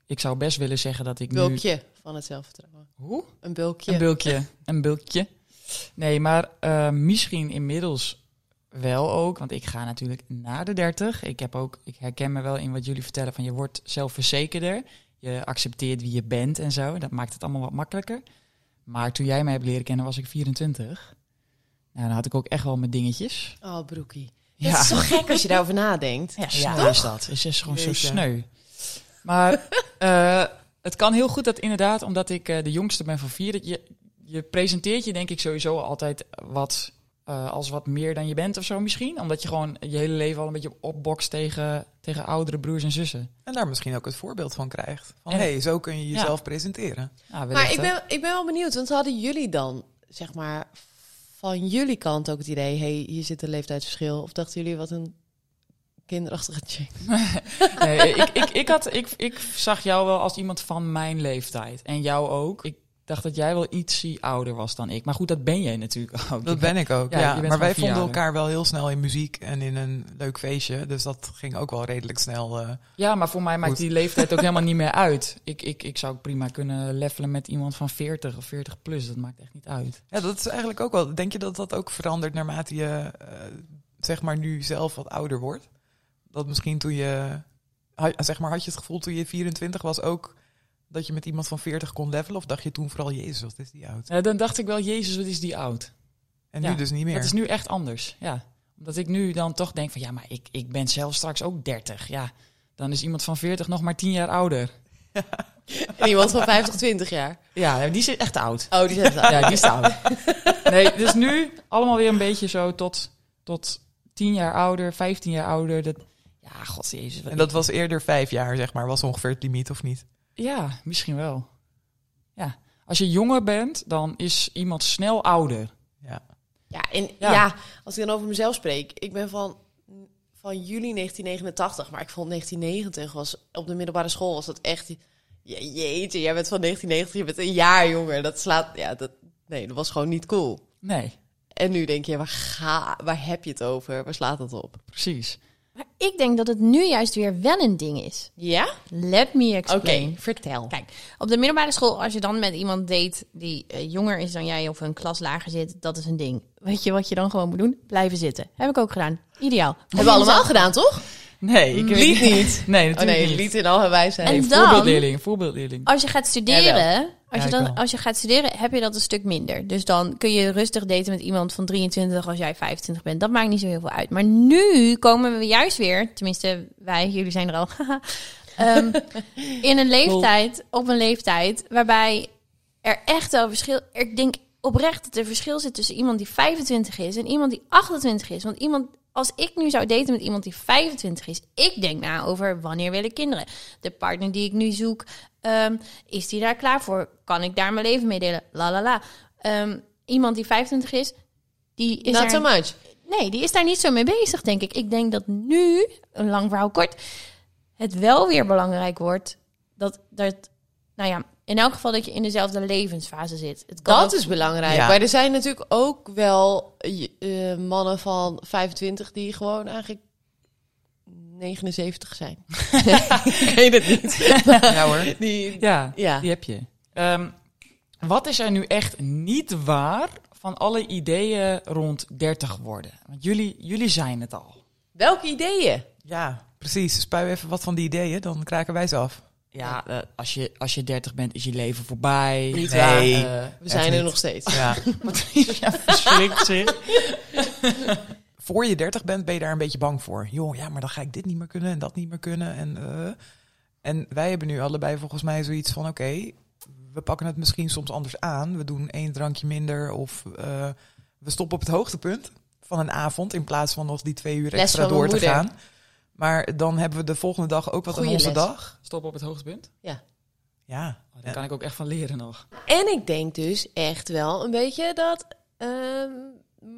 S2: Ik zou best willen zeggen dat ik nu...
S4: Bulkje van het zelfvertrouwen.
S2: Hoe?
S4: Een bulkje.
S2: Een bulkje. Een bulkje. Nee, maar eh, misschien inmiddels wel ook. Want ik ga natuurlijk na de 30. Ik, heb ook, ik herken me wel in wat jullie vertellen. Van je wordt zelfverzekerder. Je accepteert wie je bent en zo. En dat maakt het allemaal wat makkelijker. Maar toen jij mij hebt leren kennen was ik 24. Nou, dan had ik ook echt wel mijn dingetjes.
S4: Oh, broekie.
S2: Ja.
S4: Dat is toch gek als je daarover nadenkt.
S2: Ja, sneu
S5: toch?
S2: is dat. Het is gewoon zo
S5: Jeetje.
S2: sneu. Maar eh, het kan heel goed dat inderdaad, omdat ik eh, de jongste ben van vier, dat je, je presenteert je denk ik sowieso altijd wat eh, als wat meer dan je bent of zo misschien. Omdat je gewoon je hele leven al een beetje opbokst tegen, tegen oudere broers en zussen.
S5: En daar misschien ook het voorbeeld van krijgt. Van
S2: En-
S5: hé, hey, zo kun je jezelf presenteren.
S2: Nou,
S4: Maar
S2: wellicht,
S4: ik
S2: hè.
S4: ben, ik ben wel benieuwd, want hadden jullie dan, zeg maar, van jullie kant ook het idee, hé, hey, hier zit een leeftijdsverschil? Of dachten jullie, wat een kinderachtige chick?
S2: Nee, ik, ik, ik, had, ik, ik zag jou wel als iemand van mijn leeftijd. En jou ook. Ik dacht dat jij wel ietsie ouder was dan ik. Maar goed, dat ben jij natuurlijk ook.
S5: Dat ben ik ook,
S2: Ja,
S5: ja.
S2: je bent
S5: Maar wij
S2: gewoon vier
S5: vonden
S2: jaar.
S5: elkaar wel heel snel in muziek en in een leuk feestje. Dus dat ging ook wel redelijk snel. eh.
S2: Ja, maar voor mij maakt
S5: Goed.
S2: die leeftijd ook helemaal niet meer uit. Ik, ik, ik zou ook prima kunnen levelen met iemand van 40 of 40 plus. Dat maakt echt niet uit.
S5: Ja, dat is eigenlijk ook wel... Denk je dat dat ook verandert naarmate je, eh, zeg maar, nu zelf wat ouder wordt? Dat misschien toen je... ha- Zeg maar, had je het gevoel toen je 24 was ook dat je met iemand van 40 kon levelen? Of dacht je toen vooral, jezus, wat is die oud?
S2: Ja, Eh, dan dacht ik wel, Jezus, wat is die oud?
S5: En
S2: Ja,
S5: nu dus niet meer.
S2: Dat is nu echt anders. Ja. Omdat ik nu dan toch denk van ja, maar ik, ik ben zelf straks ook 30. Ja, dan is iemand van 40 nog maar 10 jaar ouder.
S4: En iemand van 50, 20 jaar.
S2: Ja, die zit echt oud.
S4: Oh, die zegt dat.
S2: Ja, die is oud. Nee, dus nu allemaal weer een beetje zo tot, tot 10-20 10 jaar ouder, 15 jaar ouder. Dat, ja, god jezus. wat-
S5: En dat was eerder vijf jaar, zeg maar, was ongeveer het limiet, of niet?
S2: Ja, misschien wel. Ja. Als je jonger bent, dan is iemand snel ouder.
S5: Ja.
S4: Ja, en
S2: Ja.
S4: ja. als ik dan over mezelf spreek, ik ben van, van juli 1989, maar ik vond 1990 was op de middelbare school was dat echt. Je, jeetje, jij bent van 1990, je bent een jaar jonger. Dat slaat. Ja, dat, nee, dat was gewoon niet cool.
S2: Nee,
S4: En nu denk je, waar, ga, waar heb je het over? Waar slaat dat op?
S2: precies.
S1: Maar ik denk dat het nu juist weer wel een ding is.
S4: Ja?
S1: Let me
S4: Oké,
S1: explain.
S4: vertel.
S1: Kijk, op de middelbare school, als je dan met iemand date die eh, jonger is dan jij of een klas lager zit, dat is een ding. Weet je wat je dan gewoon moet doen? Blijven zitten. Heb ik ook gedaan. Ideaal.
S4: hebben we allemaal gedaan, toch?
S2: Nee, ik
S4: Lied niet.
S2: Nee,
S4: Oh
S2: natuurlijk
S4: nee,
S2: niet.
S4: lied in al haar wijsheid.
S1: En
S2: Nee,
S1: dan-
S2: voorbeeldleerling, voorbeeldleerling.
S1: Als je gaat
S4: Jawel.
S1: studeren, als,
S5: Ja,
S1: je
S5: ik
S1: dan,
S5: wel.
S1: als je gaat studeren, heb je dat een stuk minder. Dus dan kun je rustig daten met iemand van 23 als jij 25 bent. Dat maakt niet zo heel veel uit. Maar nu komen we juist weer, tenminste wij, jullie zijn er al, haha, ehm, in een leeftijd, op een leeftijd waarbij er echt wel verschil. Ik denk oprecht dat er verschil zit tussen iemand die 25 is en iemand die 28 is. Want iemand, als ik nu zou daten met iemand die 25 is, ik denk na over wanneer wil ik kinderen. De partner die ik nu zoek, ehm, is die daar klaar voor? Kan ik daar mijn leven mee delen? La la la. Ehm, iemand die 25 is, die is daar-
S4: Not so much.
S1: Nee, die is daar niet zo mee bezig, denk ik. Ik denk dat nu, een lang verhaal kort, het wel weer belangrijk wordt dat, dat nou ja, in elk geval dat je in dezelfde levensfase zit. Het kan
S4: Dat
S1: ook-
S4: is belangrijk.
S5: Ja.
S4: Maar er zijn natuurlijk ook wel eh, eh, mannen van 25 die gewoon eigenlijk 79 zijn. Ik weet het niet.
S2: Ja hoor.
S4: Die,
S2: Ja,
S4: ja.
S2: die heb je. Ehm, wat is er nu echt niet waar van alle ideeën rond 30 worden? Want jullie, jullie zijn het al.
S4: Welke ideeën?
S5: Ja, precies. Spui even wat van die ideeën, dan kraken wij ze af.
S2: Ja, eh, als, je, als je 30 bent, is je leven voorbij.
S4: Niet
S5: Nee.
S4: waar.
S5: Hey.
S2: Eh,
S4: We zijn er
S5: niet.
S4: nog steeds.
S5: Ja.
S2: ja, verschrikt zich.
S5: Voor je 30 bent, ben je daar een beetje bang voor. Joh, ja, maar dan ga ik dit niet meer kunnen en dat niet meer kunnen. En, eh, en wij hebben nu allebei volgens mij zoiets van: oké, we pakken het misschien soms anders aan. We doen één drankje minder of eh, we stoppen op het hoogtepunt van een avond in plaats van nog die twee uur
S4: Les
S5: extra
S4: van mijn
S5: door te
S4: moeder.
S5: gaan. Maar dan hebben we de volgende dag ook wat
S4: Goeie
S5: aan onze
S4: les.
S5: dag.
S2: Stop op het hoogtepunt.
S5: Ja,
S2: Oh, daar kan ik ook echt van leren nog.
S4: En ik denk dus echt wel een beetje dat ehm,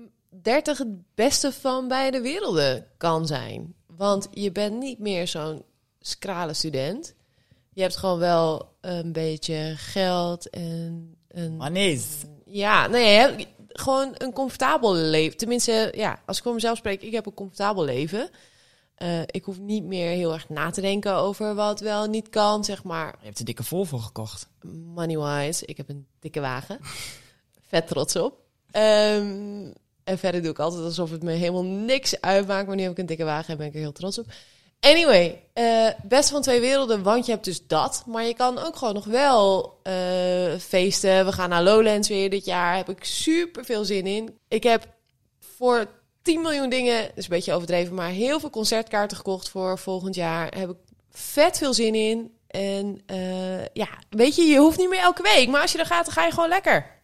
S4: 30 het beste van beide werelden kan zijn. Want je bent niet meer zo'n scrale student. Je hebt gewoon wel een beetje geld en een
S2: Maar nee.
S4: ja, nou ja, je hebt gewoon een comfortabel leven. Tenminste, ja, als ik voor mezelf spreek, ik heb een comfortabel leven. Eh, ik hoef niet meer heel erg na te denken over wat wel en niet kan, zeg maar.
S2: Je hebt een dikke Volvo gekocht.
S4: Money-wise, ik heb een dikke wagen. Vet trots op. Ehm, en verder doe ik altijd alsof het me helemaal niks uitmaakt. Maar nu heb ik een dikke wagen en ben ik er heel trots op. Anyway, eh best van twee werelden, want je hebt dus dat. Maar je kan ook gewoon nog wel eh, feesten. We gaan naar Lowlands weer dit jaar. Heb ik super veel zin in. Ik heb voor 10 miljoen dingen, dat is een beetje overdreven, maar heel veel concertkaarten gekocht voor volgend jaar. Daar heb ik vet veel zin in. En eh, ja, weet je, je hoeft niet meer elke week. Maar als je er gaat, dan ga je gewoon lekker.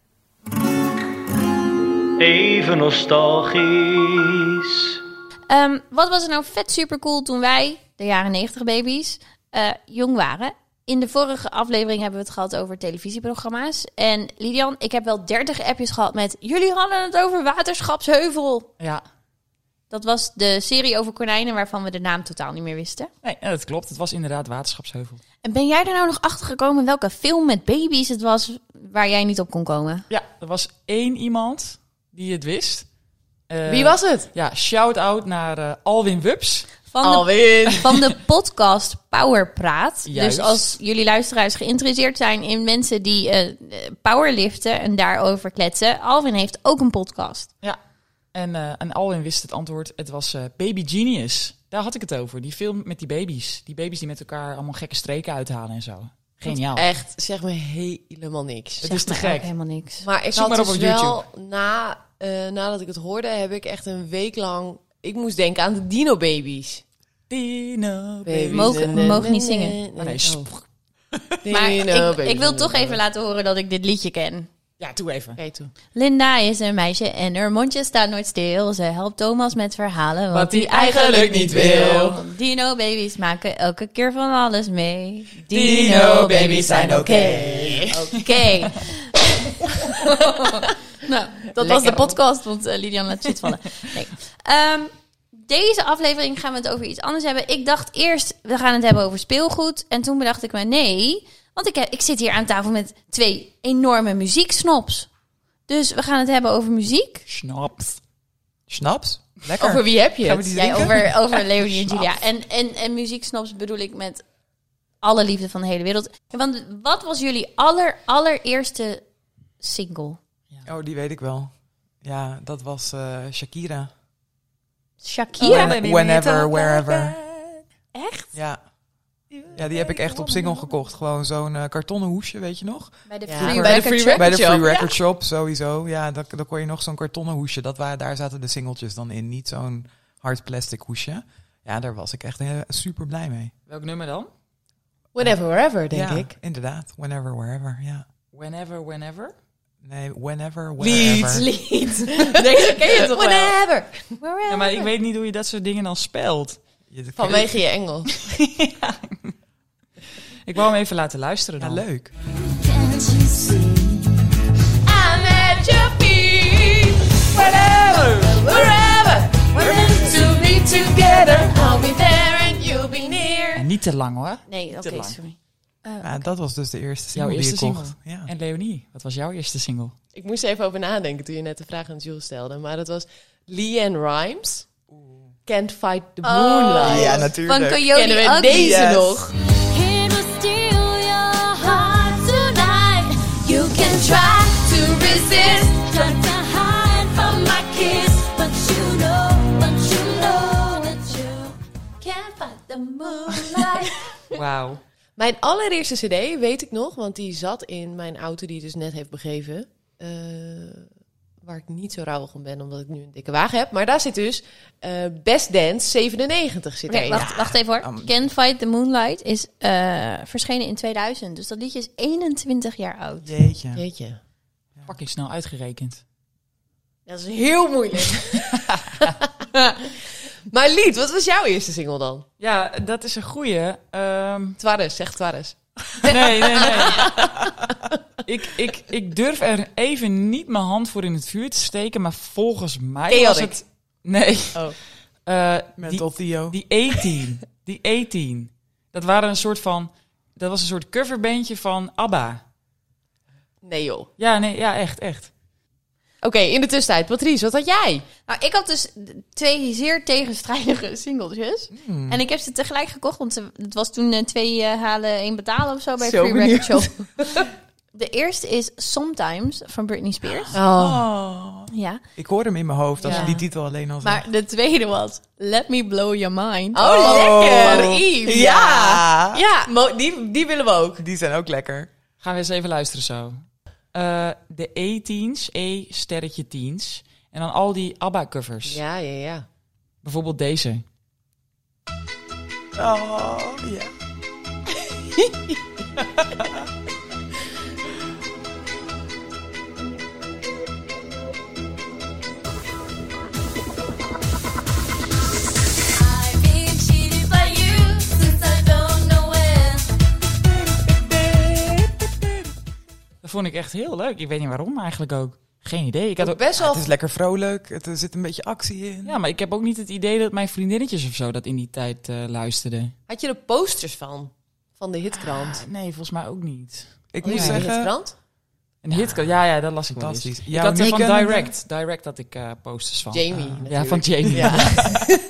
S6: Even nostalgisch.
S1: Ehm, wat was er nou vet super cool toen wij, de jaren 90 baby's, eh, jong waren? In de vorige aflevering hebben we het gehad over televisieprogramma's. En Lidian, ik heb wel 30 appjes gehad met. Jullie hadden het over Waterschapsheuvel.
S2: Ja,
S1: Dat was de serie over konijnen waarvan we de naam totaal niet meer wisten.
S2: nee, ja, dat klopt. Het was inderdaad Waterschapsheuvel.
S1: En ben jij er nou nog achter gekomen welke film met baby's het was waar jij niet op kon komen?
S2: Ja, er was één iemand die het wist. Eh,
S4: Wie was het?
S2: Ja, shout-out naar eh, Alwin Wups.
S1: Van de,
S4: Alwin.
S1: van de podcast Power Praat.
S2: Juist.
S1: Dus als jullie luisteraars geïnteresseerd zijn in mensen die eh, powerliften en daarover kletsen, Alvin heeft ook een podcast.
S2: Ja. En, eh, en Alwin wist het antwoord. Het was eh, Baby Genius. Daar had ik het over. Die film met die baby's. Die baby's die met elkaar allemaal gekke streken uithalen en zo. Geniaal.
S4: Echt, zeg me helemaal niks.
S2: oh. Het
S1: Zegt
S2: is te
S1: mij ook
S2: gek.
S1: Helemaal niks.
S4: Maar ik
S2: Zoek
S4: had
S2: maar op
S4: dus
S2: op
S4: wel, na, eh, nadat ik het hoorde, heb ik echt een week lang... Ik moest denken aan de dino-babies.
S2: Dino,
S4: Baby.
S2: baby.
S1: Mogen-
S4: Nee,
S1: mogen
S4: nee,
S1: niet
S4: nee,
S1: zingen.
S4: nee,
S2: Oh, nee,
S4: nee.
S2: sp-
S4: Oh.
S1: Maar
S4: Dino-babies.
S1: ik, ik wil toch even laten horen dat ik dit liedje ken.
S5: Ja, doe even.
S4: Oké, toe.
S1: Linda is een meisje en haar mondje staat nooit stil. Ze helpt Thomas met verhalen wat,
S2: Wat
S1: hij
S2: hij eigenlijk niet wil.
S1: Dino-babies maken elke keer van alles mee.
S2: Dino-babies zijn oké.
S1: Oké. nou, dat was de podcast, want eh, Lilian laat shit vallen. Nee. Ehm, deze aflevering gaan we het over iets anders hebben. Ik dacht eerst, we gaan het hebben over speelgoed. En toen bedacht ik me, nee. Want ik, heb, ik zit hier aan tafel met twee enorme muzieksnops. Dus we gaan het hebben over muziek.
S2: Snaps.
S5: Snaps? Lekker.
S4: Over wie heb je
S5: Gaan we
S4: het?
S5: die
S1: Jij
S5: drinken?
S1: over, over Leonie en Julia. En, en, en muzieksnops bedoel ik met alle liefde van de hele wereld. Want wat was jullie aller, allereerste single?
S5: Oh, die weet ik wel. Ja, dat was eh, Shakira.
S1: Shakira.
S5: When- whenever, wherever.
S1: Echt?
S5: Ja. ja, die heb ik echt op single gekocht. Gewoon zo'n eh, kartonnen hoesje, weet je nog?
S1: Bij de
S4: Ja,
S1: Free
S4: bij de
S1: Record
S4: Free
S1: Shop.
S5: Bij de
S4: Shop,
S5: Free Record Shop sowieso. Ja, dan, dan kon je nog zo'n kartonnen hoesje. Dat waren, daar zaten de singeltjes dan in. Niet zo'n hard plastic hoesje. Ja, daar was ik echt heel, super blij mee.
S2: Welk nummer dan?
S4: Whenever, wherever, denk
S5: Ja,
S4: ik.
S5: Inderdaad. Whenever, wherever. Ja.
S2: Whenever, whenever.
S5: Nee, whenever,
S2: Lied,
S5: wherever.
S1: Lied. Deze ken je toch wel? Whenever.
S2: Ja, maar ik weet niet hoe je dat soort dingen dan spelt.
S5: Je-
S4: Vanwege je engel.
S2: Ik wou hem even laten luisteren
S5: Ja,
S2: dan.
S5: leuk.
S1: I'm at your feet. Whenever, wherever. We're meant to be together. I'll be there and you'll be near.
S2: En niet te lang hoor.
S1: Nee, oké,
S2: lang.
S1: sorry.
S5: Ja, dat was dus de eerste
S2: Jouw
S5: single
S2: eerste
S5: die ik kocht.
S2: single.
S5: Ja.
S2: En Leonie, wat was jouw eerste single?
S4: Ik moest er even over nadenken toen je net de vraag aan Jules stelde. Maar dat was Leanne Rhymes. Can't fight the moonlight.
S5: Ja,
S1: Van
S5: natuurlijk.
S1: Coyote
S4: Kennen we
S1: Ugly.
S4: deze
S5: Yes.
S4: nog?
S6: It will steal your heart tonight. You can try to resist, try to hide from my kiss, but you know, but you know that you can't fight the moonlight.
S2: Wauw.
S4: Mijn allereerste cd weet ik nog, want die zat in mijn auto die dus net heeft begeven. Eh, waar ik niet zo rauwig om ben, omdat ik nu een dikke wagen heb. Maar daar zit dus eh, Best Dance 97 zit
S1: Oké,
S4: erin.
S1: wacht, wacht even hoor.
S5: um.
S1: Can't Fight the Moonlight is eh, verschenen in 2000. Dus dat liedje is 21 jaar oud.
S5: Jeetje.
S4: Weet je.
S2: Pak ik snel uitgerekend.
S1: Dat is heel moeilijk.
S4: Maar Lied, wat was jouw eerste single dan?
S2: Ja, dat is een goeie. Ehm,
S4: Twares, zeg Twares.
S2: nee, nee, nee. ik, ik, ik durf er even niet mijn hand voor in het vuur te steken, maar volgens mij was
S4: Chaotic.
S2: het... Nee.
S4: Oh.
S2: Eh, die,
S5: Mental Theo.
S2: die 18. Die 18. Dat waren een soort van... Dat was een soort coverbandje van ABBA.
S4: Nee joh. Oké,
S2: Ja, nee, ja, echt, echt.
S4: in de tussentijd. Patrice, wat had jij?
S1: nou, ik had dus twee zeer tegenstrijdige singeltjes. En ik heb ze tegelijk gekocht, want ze- het was toen eh, twee eh, halen, één betalen of zo bij
S4: Zo
S1: Free Record Shop. De eerste is Sometimes van Britney Spears.
S4: Oh.
S1: Ja.
S5: Ik hoor hem in mijn hoofd als
S1: Ja.
S5: je die titel alleen al zegt.
S1: Maar de tweede was Let Me Blow Your Mind.
S4: Oh, lekker! Yves.
S5: Ja.
S4: Ja, mo- die, die willen we ook.
S5: Die zijn ook lekker.
S2: Gaan we eens even luisteren zo. Eh, de E-teens, E-sterretje teens. En dan al die ABBA-covers.
S4: Ja, ja, ja.
S2: Bijvoorbeeld deze.
S5: Oh, ja.
S6: I've been cheated by you since I don't know when.
S2: Dat vond ik echt heel leuk. Ik weet niet waarom eigenlijk ook. Geen idee. Ik had ook...
S4: Best wel...
S5: Het is lekker vrolijk. Het, er zit een beetje actie in.
S2: Ja, maar ik heb ook niet het idee dat mijn vriendinnetjes of zo dat in die tijd eh, luisterden.
S4: Had je er posters van? Van de hitkrant.
S2: Nee, volgens mij ook niet.
S5: Ik
S4: Oh,
S5: moet
S4: ja, de
S5: zeggen...
S4: hitkrant?
S2: Een hitco, ja, ja, dat las ik wel eens.
S5: Fantastisch.
S2: Ik had er van
S5: Nick en-
S2: Direct. Direct had ik eh, posters van.
S4: Jamie.
S2: ja,
S4: natuurlijk.
S2: van Jamie.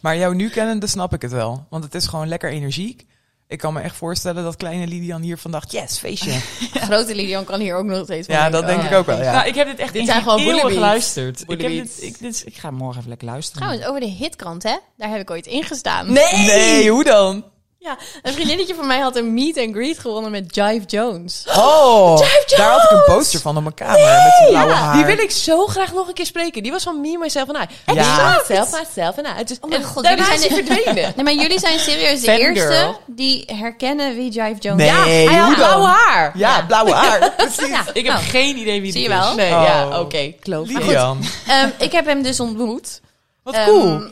S5: Maar jou nu kennende snap ik het wel. Want het is gewoon lekker energiek. Ik kan me echt voorstellen dat kleine Lidian hier van dacht... Yes, feestje.
S1: Grote Lilian kan hier ook nog steeds van
S5: Ja,
S1: denken.
S5: dat denk
S1: Oh.
S5: ik ook wel, ja.
S2: Nou, ik heb dit echt
S4: Dit
S2: in
S4: zijn gewoon
S2: eeuwen
S4: bullybeats.
S2: geluisterd. Ik, heb
S4: Bullybeats.
S2: dit, ik, dit is- ik ga morgen even lekker luisteren.
S1: Trouwens, over de hitkrant, hè? Daar heb ik ooit in gestaan.
S5: Nee, hoe dan?
S1: Ja, een vriendinnetje van mij had een meet and greet gewonnen met Jive Jones.
S5: Oh, daar had ik een poster van op mijn kamer met die blauwe haar.
S4: Die wil ik zo graag nog een keer spreken. Die was van me, myself en I.
S5: Ja.
S4: Ja. Myself, myself en I. Het is-
S1: Oh mijn
S4: en
S1: god,
S4: daarna
S1: jullie
S4: is
S1: zijn
S4: hij
S1: de-
S4: verdwenen.
S1: Nee, maar jullie zijn serieus de
S2: Fangirl.
S1: eerste die herkennen wie Jive Jones
S5: Nee,
S1: is.
S4: Hij had
S5: hoe dan?
S4: blauw haar.
S5: Ja, blauwe haar. Precies.
S2: Ik heb geen idee
S1: Nou, Zie
S2: wie dit
S1: je
S2: is.
S1: wel?
S4: Nee,
S5: Oh.
S4: Nou, ja, oké. Kloof. Maar goed,
S5: Lilian.
S1: Ehm, ik heb hem dus ontmoet.
S5: Wat
S1: Ehm,
S5: cool.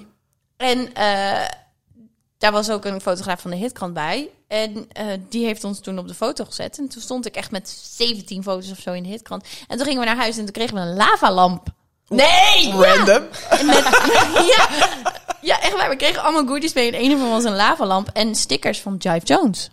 S1: En eh, daar was ook een fotograaf van de hitkrant bij. En eh, die heeft ons toen op de foto gezet. En toen stond ik echt met 17 foto's of zo in de hitkrant. En toen gingen we naar huis en toen kregen we een lavalamp. Oh. Nee!
S5: Random.
S1: Ja, ja, echt waar. We kregen allemaal goodies mee. En een van ons een lavalamp en stickers van Jive Jones.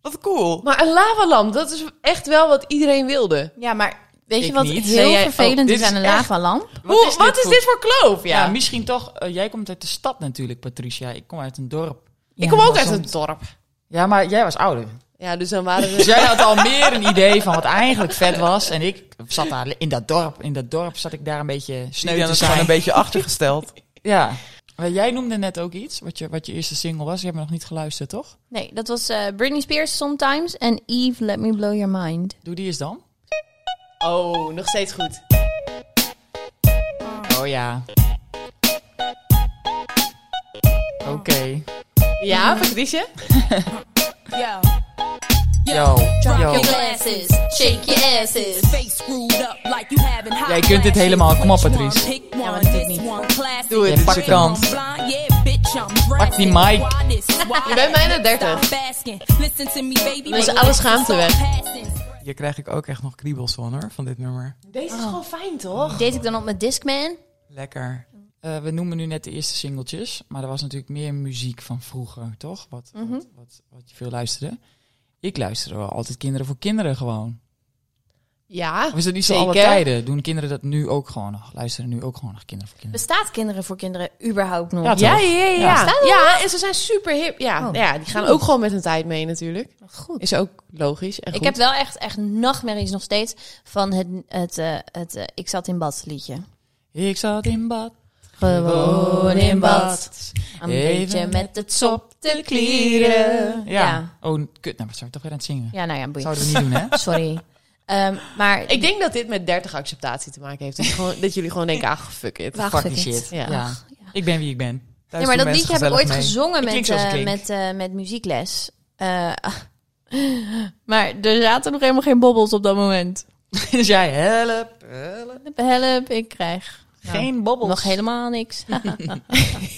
S5: Wat cool.
S4: Maar een lavalamp, dat is echt wel wat iedereen wilde.
S1: Ja, maar weet je
S2: Ik
S1: wat
S2: niet.
S1: heel
S2: Nee, jij-
S1: vervelend
S2: oh,
S1: is
S2: dit
S1: aan een
S2: is echt-
S1: lavalamp?
S4: Hoe- Wat is, dit,
S2: voor-
S4: voor kloof? Ja.
S2: Ja, misschien toch. eh, jij komt uit de stad natuurlijk, Patricia. Ik kom uit een dorp.
S4: ik kom ook uit
S2: soms-
S4: het dorp.
S2: Ja, maar jij was ouder.
S4: Ja, dus dan waren we...
S2: Dus jij had al meer een idee van wat eigenlijk vet was. En ik zat daar in dat dorp. In dat dorp zat ik daar een beetje sneu
S5: Lilian
S2: te
S5: is gewoon
S2: zijn.
S5: een beetje achtergesteld.
S2: Ja. Maar jij noemde net ook iets, wat je, wat je eerste single was. Je hebt me nog niet geluisterd, toch?
S1: Nee, dat was eh, Britney Spears Sometimes en Eve Let Me Blow Your Mind.
S2: Doe die eens dan.
S4: Oh, nog steeds goed.
S2: Oh ja. Oké.
S4: Ja, Patricia?
S6: Yo,
S2: Yo. Yo.
S6: your glasses, shake your asses.
S7: face screwed up like you having high
S2: Jij kunt dit
S7: classes.
S2: helemaal, kom op,
S7: Which one?
S2: Patrice.
S7: Pick one,
S1: want dit
S7: this
S1: niet.
S7: one classic.
S2: Doe het,
S7: If
S2: pak
S7: I'm
S2: de kans.
S7: blind, yeah, bitch, I'm drastic.
S2: die mic.
S7: Why this? Why
S4: Je bent bijna
S7: that?
S4: 30.
S7: Stop asking. Listen to me, baby.
S4: Dan is
S7: Relax
S4: alle
S7: and
S4: schaamte
S7: stop
S4: weg.
S7: passing.
S5: Hier krijg ik ook echt nog kriebels van hoor, van dit nummer.
S4: Deze is gewoon fijn, toch?
S1: Deed ik dan op mijn Discman?
S5: Lekker.
S2: Eh, we noemen nu net de eerste singeltjes, maar er was natuurlijk meer muziek van vroeger, toch? Wat,
S1: Mhm.
S2: wat, wat, wat je veel luisterde. Ik luisterde wel altijd kinderen voor kinderen gewoon.
S4: Ja.
S2: Of is dat niet zo
S4: Zeker.
S2: alle tijden? Doen kinderen dat nu ook gewoon nog? Luisteren nu ook gewoon nog kinderen voor kinderen?
S1: Bestaat kinderen voor kinderen überhaupt nog?
S2: Ja, toch?
S4: Ja, ja, ja.
S2: Ja.
S4: Ja,
S1: Staat er
S4: ja en ze zijn super hip. Ja,
S1: Oh.
S4: ja, die gaan ook gewoon met hun tijd mee natuurlijk.
S1: Goed.
S4: Is ook logisch en
S1: Ik
S4: goed.
S1: heb wel echt, echt nachtmerries nog steeds van het, het, eh, het eh, Ik zat in bad liedje. Dus-
S2: Ik zat in bad.
S1: Gewoon in bad. Een
S2: Even
S1: beetje met het sop Dus te
S2: Ja.
S1: klieren. Ja.
S2: Oh, kut. Nou, wat zou ik toch weer aan het zingen?
S1: Ja, nou ja, boeien.
S2: Zouden we niet doen, hè?
S1: Sorry. Ehm, maar
S4: Ik denk dat dit met 30 acceptatie te maken heeft. Dat, je gewoon, dat jullie gewoon denken, ah, fuck it.
S1: Wacht,
S2: Fuck
S1: fuck
S2: die
S1: it.
S2: shit.
S4: Ja.
S2: Ja. Ik ben wie ik ben.
S5: Thuis
S1: Nee, maar dat
S5: doen mensen
S1: liedje heb ik ooit
S5: gezellig mee.
S1: gezongen
S2: Ik klink
S1: met,
S2: zoals
S1: eh,
S2: ik klink.
S1: met, eh, met muziekles. Eh, maar er zaten nog helemaal geen bobbels op dat moment.
S2: dus jij, help, help.
S1: Help, ik krijg
S2: Geen bobbels.
S1: nog helemaal niks.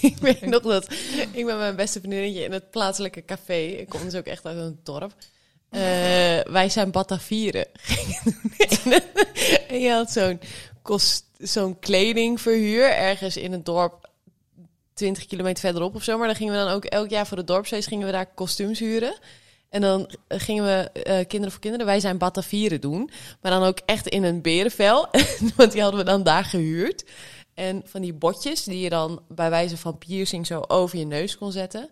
S4: ik weet nog dat ik met mijn beste vriendinnetje in het plaatselijke café, ik kom dus ook echt uit een dorp, eh, wij zijn Batavieren. en je had zo'n kost- zo'n kledingverhuur ergens in het dorp 20 kilometer verderop of zo. Maar dan gingen we dan ook elk jaar voor het dorpsfeest gingen we daar kostuums huren. En dan eh, gingen we eh, Kinderen voor Kinderen, wij zijn Batavieren doen. Maar dan ook echt in een berenvel. Want die hadden we dan daar gehuurd. En van die botjes die je dan bij wijze van piercing zo over je neus kon zetten.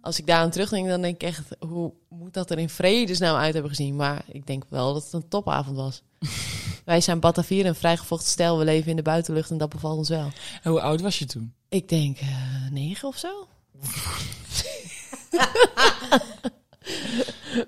S4: Als ik daaraan terugdenk, dan denk ik echt... hoe moet dat er in vredesnaam uit hebben gezien? Maar ik denk wel dat het een topavond was. wij zijn Batavieren, een vrijgevochten stijl. We leven in de buitenlucht en dat bevalt ons wel.
S2: Hoe oud was je toen?
S4: Ik denk eh, negen of zo.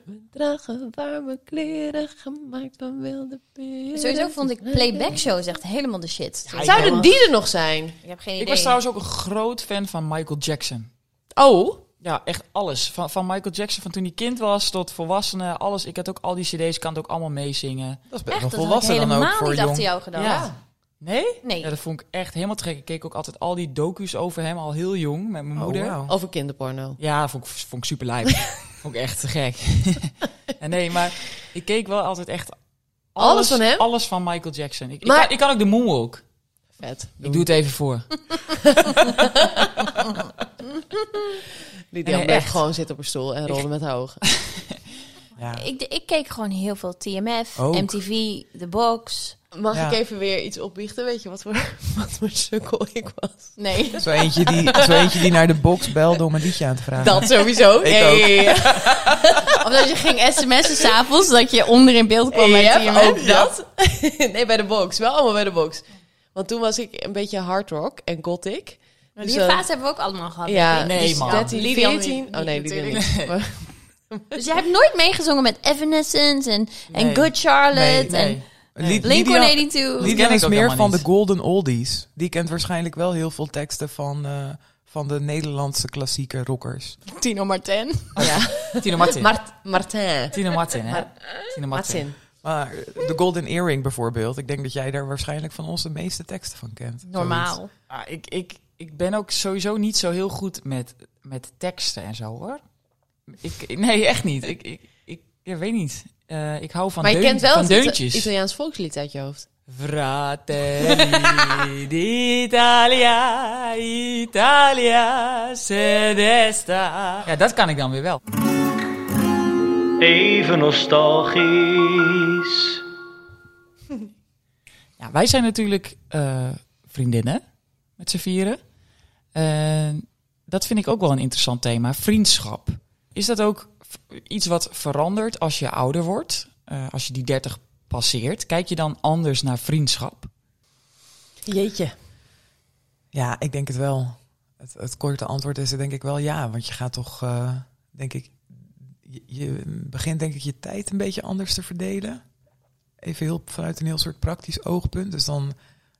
S4: We dragen warme kleren gemaakt van wilde beren.
S1: Sowieso vond ik playback shows echt helemaal de shit.
S4: Zouden die er nog zijn?
S1: Ik heb geen idee.
S2: Ik was trouwens ook een groot fan van Michael Jackson.
S4: Oh,
S2: Ja, echt alles. Van, van Michael Jackson, van toen hij kind was tot volwassenen, alles. Ik had ook al die cd's, kan het ook allemaal meezingen.
S5: Dat is best
S1: echt,
S5: wel
S1: dat had ik
S5: volwassen dan
S1: helemaal
S5: ook voor
S1: niet
S5: jong.
S1: achter jou gedaan.
S2: Nee?
S1: Nee.
S2: Ja, dat vond ik echt helemaal te gek. Ik keek ook altijd al die docu's over hem, al heel jong, met mijn
S5: Oh,
S2: moeder.
S5: wauw.
S4: over kinderporno.
S2: Ja, dat vond ik, vond ik super lijp. vond ik echt te gek. en nee, maar ik keek wel altijd echt
S4: Alles van hem?
S2: Alles van Michael Jackson. Ik,
S4: Maar-
S2: ik, kan, ik kan ook de moonwalk.
S4: Vet.
S2: Ik doe het even voor.
S4: Lydia
S2: Nee,
S4: bleef
S2: echt.
S4: gewoon zitten op een stoel en rolde met haar ogen.
S5: Ja.
S1: Ik, ik keek gewoon heel veel TMF,
S5: Ook.
S1: MTV, The Box.
S4: Mag
S5: Ja.
S4: ik even weer iets opbiechten? Weet je wat voor, wat voor sukkel ik was?
S1: Nee.
S5: Zo eentje, die, zo eentje die naar de box belde om een liedje aan te vragen.
S4: Dat sowieso.
S5: Ik ook.
S1: of dat je ging sms'en s'avonds, dat je onder in beeld kwam bij
S4: Ja,
S1: TMF.
S4: ook dat. nee, bij de box. Wel allemaal bij de box. Want toen was ik een beetje hard rock en gothic.
S1: Maar
S4: Dus
S1: Nou, die
S4: dat-
S1: fase hebben we ook allemaal gehad.
S4: Ja,
S1: denk ik.
S2: Nee,
S4: dus
S2: man.
S4: 13,
S1: Lidian
S4: 14.
S1: niet,
S4: oh nee,
S1: niet
S4: die
S1: natuurlijk.
S4: niet. Maar-
S1: Dus jij hebt nooit meegezongen met Evanescence en, en
S2: Nee.
S1: Good Charlotte
S2: Nee.
S1: en
S5: Lid-
S1: Blink
S5: Lydia-
S1: 182.
S2: ken
S5: Lydia
S2: ik
S5: is
S2: ook
S5: meer
S2: helemaal
S5: van
S2: niet.
S5: de golden oldies. Die kent waarschijnlijk wel heel veel teksten van, eh, van de Nederlandse klassieke rockers.
S1: Tino Martin.
S4: ja.
S2: Tino Martin.
S4: Mart- Martin.
S2: Tino Martin, hè? Tino Martin.
S4: Martin.
S5: Maar eh, de Golden Earring bijvoorbeeld. Ik denk dat jij daar waarschijnlijk van ons de meeste teksten van kent.
S1: Normaal.
S2: Ah, ik, ik, ik ben ook sowieso niet zo heel goed met, met teksten en zo, hoor. Ik, ik- nee, echt niet. Ik, ik, ik, ik weet niet. Eh, ik hou van,
S4: Maar je
S2: deun-
S4: kent wel
S2: van
S4: het Ita-
S2: deuntjes.
S4: Italiaans volkslied uit je hoofd.
S2: Fratelli d'Italia, Italia Sedesta. Ja, dat kan ik dan weer wel.
S8: Even nostalgisch.
S2: Ja, wij zijn natuurlijk eh, vriendinnen met z'n vieren. Eh, dat vind ik ook wel een interessant thema. Vriendschap. Is dat ook v- iets wat verandert als je ouder wordt? Eh, als je die 30 passeert, kijk je dan anders naar vriendschap?
S4: Jeetje.
S5: Ja, ik denk het wel. Het, het korte antwoord is denk ik wel ja. Want je gaat toch, eh, denk ik, je, je begint denk ik je tijd een beetje anders te verdelen. Even heel, vanuit een heel soort praktisch oogpunt. Dus dan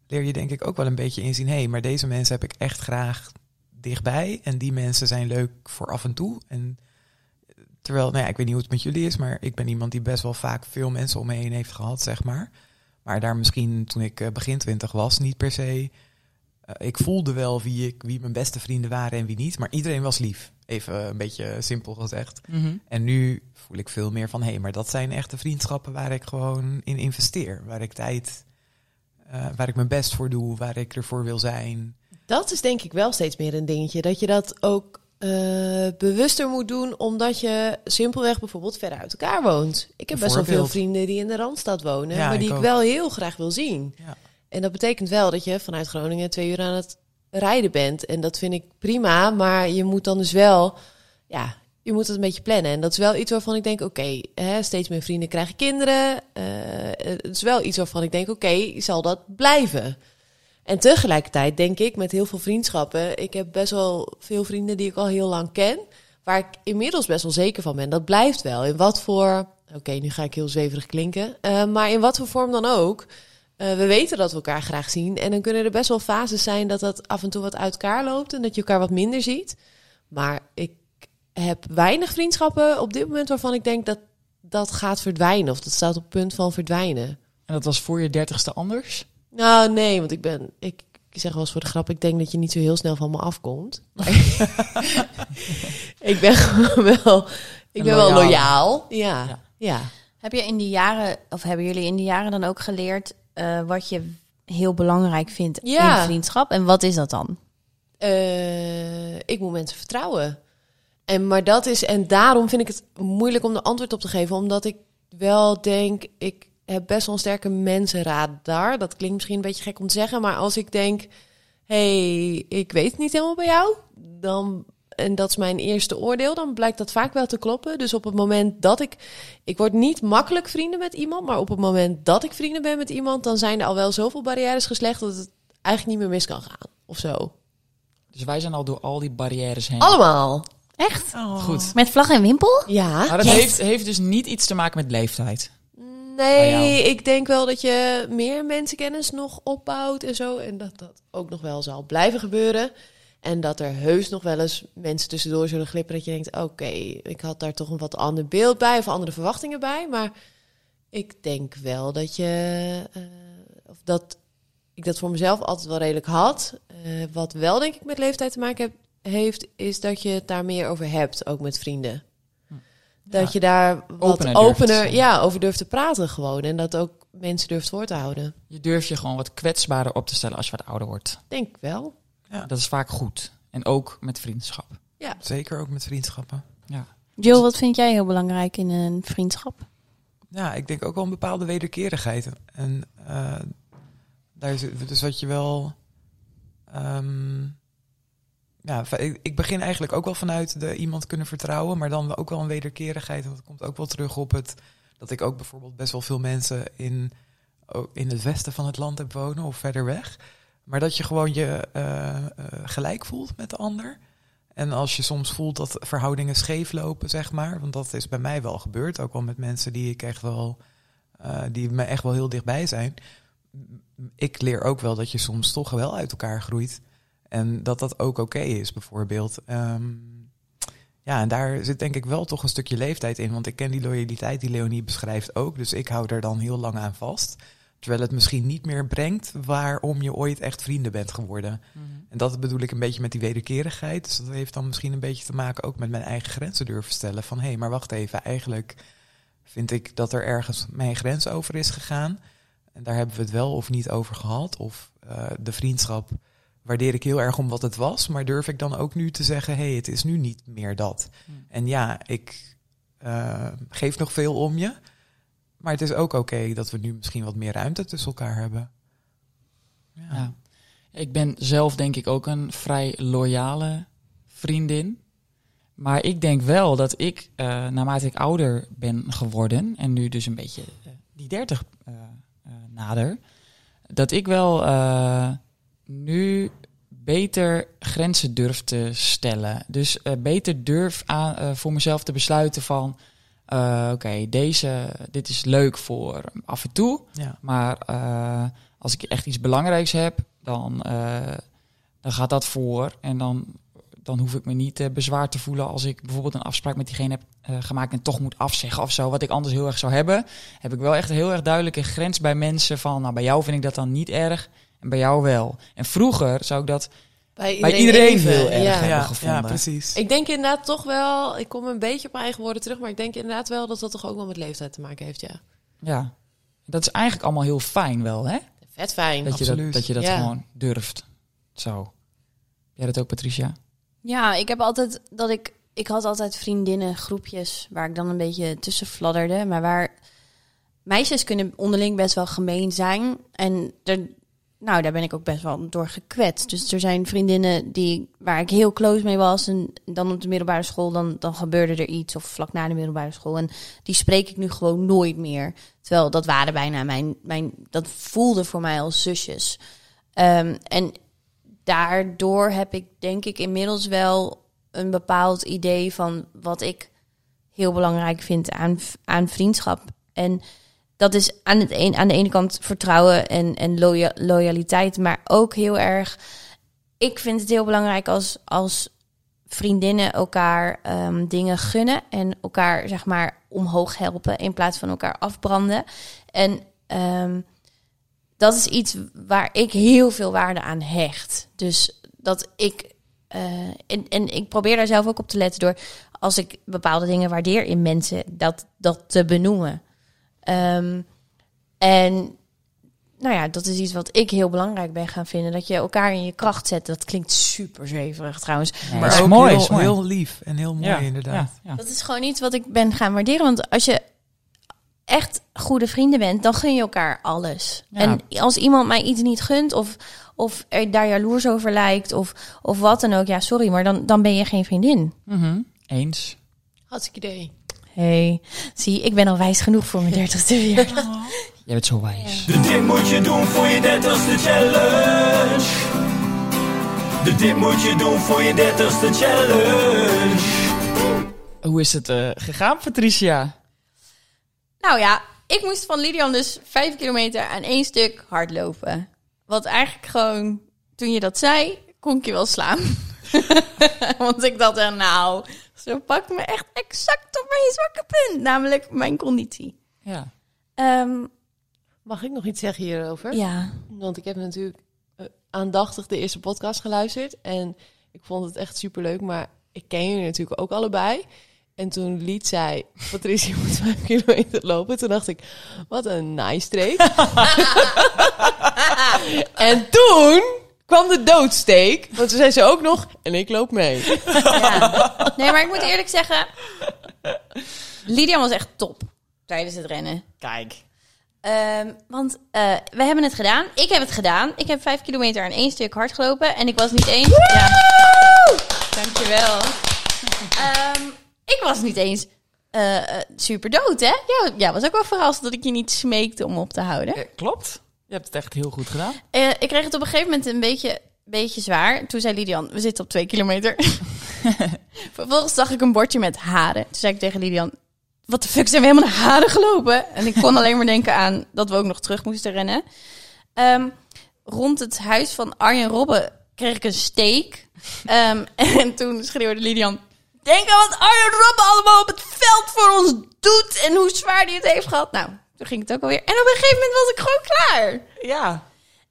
S5: leer je denk ik ook wel een beetje inzien. Hé, hey, maar deze mensen heb ik echt graag dichtbij. En die mensen zijn leuk voor af en toe. En terwijl, nou ja, ik weet niet hoe het met jullie is, maar ik ben iemand die best wel vaak veel mensen om me heen heeft gehad, zeg maar. Maar daar misschien toen ik eh, begin twintig was, niet per se eh, ik voelde wel wie, ik, wie mijn beste vrienden waren en wie niet. Maar iedereen was lief. Even eh, een beetje simpel gezegd.
S4: Mhm.
S5: En nu voel ik veel meer van... hé, maar dat zijn echte vriendschappen waar ik gewoon in investeer. Waar ik tijd... eh, waar ik mijn best voor doe. Waar ik ervoor wil zijn.
S4: Dat is denk ik wel steeds meer een dingetje. Dat je dat ook eh, bewuster moet doen, omdat je simpelweg bijvoorbeeld ver uit elkaar woont. Ik heb best wel veel
S5: Bijvoorbeeld.
S4: vrienden die in de Randstad wonen,
S5: Ja,
S4: maar die
S5: ik
S4: ik
S5: ook.
S4: wel heel graag wil zien.
S5: Ja.
S4: En dat betekent wel dat je vanuit Groningen twee uur aan het rijden bent. En dat vind ik prima, maar je moet dan dus wel, ja, je moet het een beetje plannen. En dat is wel iets waarvan ik denk, oké, hè, steeds meer vrienden krijgen kinderen. Eh, het is wel iets waarvan ik denk, oké, zal dat blijven? En tegelijkertijd denk ik met heel veel vriendschappen, ik heb best wel veel vrienden die ik al heel lang ken, waar ik inmiddels best wel zeker van ben. Dat blijft wel. In wat voor, oké, nu ga ik heel zweverig klinken, eh, maar in wat voor vorm dan ook. Eh, we weten dat we elkaar graag zien. En dan kunnen er best wel fases zijn dat dat af en toe wat uit elkaar loopt en dat je elkaar wat minder ziet. Maar ik heb weinig vriendschappen op dit moment waarvan ik denk dat dat gaat verdwijnen of dat staat op het punt van verdwijnen.
S2: En dat was voor je dertigste anders?
S4: Nou, nee, want ik ben. Ik, ik zeg wel eens voor de grap, ik denk dat je niet zo heel snel van me afkomt. Maar ik ben gewoon wel. Ik ben wel
S2: Loyaal.
S4: loyaal. Ja. ja.
S2: Ja.
S1: Heb je in die jaren, of hebben jullie in die jaren dan ook geleerd eh, wat je heel belangrijk vindt
S4: Ja.
S1: in vriendschap? En wat is dat dan?
S4: Eh, ik moet mensen vertrouwen. En, maar dat is, en daarom vind ik het moeilijk om de antwoord op te geven. Omdat ik wel denk, ik heb best wel een sterke mensenradar. Dat klinkt misschien een beetje gek om te zeggen. Maar als ik denk, hey, ik weet het niet helemaal bij jou. Dan, en dat is mijn eerste oordeel. Dan blijkt dat vaak wel te kloppen. Dus op het moment dat ik... Ik word niet makkelijk vrienden met iemand. Maar op het moment dat ik vrienden ben met iemand... dan zijn er al wel zoveel barrières geslecht... dat het eigenlijk niet meer mis kan gaan. Of zo.
S2: Dus wij zijn al door al die barrières heen.
S4: Allemaal.
S1: Echt?
S2: Goed.
S1: Met vlag en wimpel?
S4: Ja.
S2: Maar dat heeft, heeft dus niet iets te maken met leeftijd.
S4: Nee, ik denk wel dat je meer mensenkennis nog opbouwt en zo. En dat dat ook nog wel zal blijven gebeuren. En dat er heus nog wel eens mensen tussendoor zullen glippen. Dat je denkt, oké, ik had daar toch een wat ander beeld bij of andere verwachtingen bij. Maar ik denk wel dat je. eh, of dat ik dat voor mezelf altijd wel redelijk had. Eh, wat wel denk ik met leeftijd te maken heb- heeft, is dat je het daar meer over hebt, ook met vrienden. Dat je daar wat
S2: Hm. Opener
S4: opener,
S2: durft te zijn.
S4: ja, over durft te praten gewoon. En dat ook mensen durft voor te houden.
S2: Je durft je gewoon wat kwetsbaarder op te stellen als je wat ouder wordt.
S4: Denk ik wel.
S2: Dat is vaak goed. En ook met vriendschap.
S5: Zeker ook met vriendschappen.
S2: Ja.
S1: Jill, wat vind jij heel belangrijk in een vriendschap?
S5: Ja, ik denk ook wel een bepaalde wederkerigheid. En eh, daar zit dus dat je wel. ehm, ja, va- ik, ik begin eigenlijk ook wel vanuit de iemand kunnen vertrouwen, maar dan ook wel een wederkerigheid. En dat komt ook wel terug op het dat ik ook bijvoorbeeld best wel veel mensen in, o- in het westen van het land heb wonen of verder weg. Maar dat je gewoon je eh, eh, gelijk voelt met de ander. En als je soms voelt dat verhoudingen scheef lopen, zeg maar. Want dat is bij mij wel gebeurd. Ook wel met mensen die ik echt wel. eh, die me echt wel heel dichtbij zijn. Ik leer ook wel dat je soms toch wel uit elkaar groeit. En dat dat ook oké is, bijvoorbeeld. Ehm, ja, en daar zit denk ik wel toch een stukje leeftijd in. Want ik ken die loyaliteit die Leonie beschrijft ook. Dus ik hou er dan heel lang aan vast. Terwijl het misschien niet meer brengt waarom je ooit echt vrienden bent geworden. En dat bedoel ik een beetje met die wederkerigheid. Dus dat heeft dan misschien een beetje te maken ook met mijn eigen grenzen durven stellen. Van hé, maar wacht even, eigenlijk vind ik dat er ergens mijn grens over is gegaan. En daar hebben we het wel of niet over gehad. Of eh, de vriendschap waardeer ik heel erg om wat het was. Maar durf ik dan ook nu te zeggen, hé, het is nu niet meer dat.
S2: Hmm.
S5: En ja, ik eh, geef nog veel om je. Maar het is ook oké dat we nu misschien wat meer ruimte tussen elkaar hebben.
S2: Ja. Ik ben zelf denk ik ook een vrij loyale vriendin. Maar ik denk wel dat ik, eh, naarmate ik ouder ben geworden en nu dus een beetje eh, die 30 eh, eh, nader, dat ik wel eh, nu beter grenzen durf te stellen. Dus eh, beter durf aan, eh, voor mezelf te besluiten van, eh, oké, deze, dit is leuk voor af en toe,
S5: Ja.
S2: maar eh, als ik echt iets belangrijks heb, dan, eh, dan gaat dat voor. En dan, dan hoef ik me niet eh, bezwaar te voelen als ik bijvoorbeeld een afspraak met diegene heb eh, gemaakt en toch moet afzeggen of zo. Wat ik anders heel erg zou hebben. Heb ik wel echt een heel erg duidelijke grens bij mensen van, nou bij jou vind ik dat dan niet erg en bij jou wel. En vroeger zou ik dat
S4: Bij
S2: bij iedereen
S4: even,
S2: heel erg
S4: ja.
S2: hebben
S5: Ja,
S2: gevonden.
S5: ja, precies.
S4: Ik denk inderdaad toch wel, ik kom een beetje op mijn eigen woorden terug, maar ik denk inderdaad wel dat dat toch ook wel met leeftijd te maken heeft, ja.
S2: Ja, dat is eigenlijk allemaal heel fijn wel, hè?
S4: Vet fijn.
S2: Dat je dat,
S5: Absoluut.
S2: dat, je dat
S4: Ja.
S2: gewoon durft. Zo. Heb Jij dat ook, Patricia?
S1: Ja, ik heb altijd dat ik. Ik had altijd vriendinnen, groepjes waar ik dan een beetje tussen fladderde. Maar waar meisjes kunnen onderling best wel gemeen zijn. En er, nou, daar ben ik ook best wel door gekwetst. Dus er zijn vriendinnen die, waar ik heel close mee was. En dan op de middelbare school, dan, dan gebeurde er iets. Of vlak na de middelbare school. En die spreek ik nu gewoon nooit meer. Terwijl dat waren bijna mijn. mijn dat voelde voor mij als zusjes. Ehm, en daardoor heb ik denk ik inmiddels wel een bepaald idee van wat ik heel belangrijk vind aan, aan vriendschap. En dat is aan, het een, aan de ene kant vertrouwen en, en loya- loyaliteit, maar ook heel erg. Ik vind het heel belangrijk als, als vriendinnen elkaar ehm, dingen gunnen en elkaar zeg maar omhoog helpen in plaats van elkaar afbranden. En ehm, dat is iets waar ik heel veel waarde aan hecht. Dus dat ik. eh, en, en ik probeer daar zelf ook op te letten door als ik bepaalde dingen waardeer in mensen, dat, dat te benoemen. Ehm, en nou ja, dat is iets wat ik heel belangrijk ben gaan vinden. Dat je elkaar in je kracht zet. Dat klinkt super zweverig trouwens.
S2: dat
S5: Maar
S2: is
S5: ook
S2: mooi,
S5: heel,
S2: is mooi.
S5: heel lief en heel mooi, inderdaad.
S2: Ja, ja.
S1: Dat is gewoon iets wat ik ben gaan waarderen. Want als je echt goede vrienden bent, dan gun je elkaar alles.
S2: Ja.
S1: En als iemand mij iets niet gunt of, of er daar jaloers over lijkt of, of wat dan ook, ja, sorry, maar dan, dan ben je geen vriendin.
S2: Mhm. Eens.
S4: Hartstikke idee.
S1: hey, zie, ik ben al wijs genoeg voor mijn dertigste verjaardag.
S2: Jij bent zo wijs.
S3: De dit moet je doen voor je dertigste challenge. De dit moet je doen voor je dertigste challenge.
S2: Hoe is het eh, gegaan, Patricia?
S1: Nou ja, ik moest van Lidian dus vijf kilometer aan één stuk hardlopen. Wat eigenlijk gewoon, toen je dat zei, kon ik je wel slaan. Want ik dacht echt, nou, ze pakt me echt exact op mijn zwakke punt. Namelijk mijn conditie.
S2: Ja.
S1: Ehm,
S4: Mag ik nog iets zeggen hierover?
S1: ja.
S4: Want ik heb natuurlijk eh, aandachtig de eerste podcast geluisterd. En ik vond het echt superleuk. Maar ik ken jullie natuurlijk ook allebei. En toen liet zij Patricia moet vijf kilometer lopen. Toen dacht ik, wat een nice streek. en toen kwam de doodsteek. Want toen zei ze ook nog, en ik loop mee.
S1: ja. Nee, maar ik moet eerlijk zeggen, Lidian was echt top tijdens het rennen.
S2: Kijk.
S1: Ehm, want eh, we hebben het gedaan. Ik heb het gedaan. Ik heb vijf kilometer aan één stuk hard gelopen. En ik was niet eens... Ja. Dankjewel. Ehm, ik was niet eens eh, eh, super dood, hè? Jij, jij was ook wel verrast dat ik je niet smeekte om op te houden.
S2: klopt. hebt het echt heel goed gedaan.
S1: Eh, ik kreeg het op een gegeven moment een beetje, beetje zwaar. Toen zei Lidian, we zitten op twee kilometer. Vervolgens zag ik een bordje met haren. Toen zei ik tegen Lidian, wat de fuck zijn we helemaal naar haren gelopen? En ik kon alleen maar denken aan dat we ook nog terug moesten rennen. Ehm, rond het huis van Arjen Robben kreeg ik een steek. Ehm, en toen schreeuwde Lidian, denk aan wat Arjen Robben allemaal op het veld voor ons doet. En hoe zwaar die het heeft gehad. Nou, toen ging het ook alweer. En op een gegeven moment was ik gewoon klaar.
S2: Ja.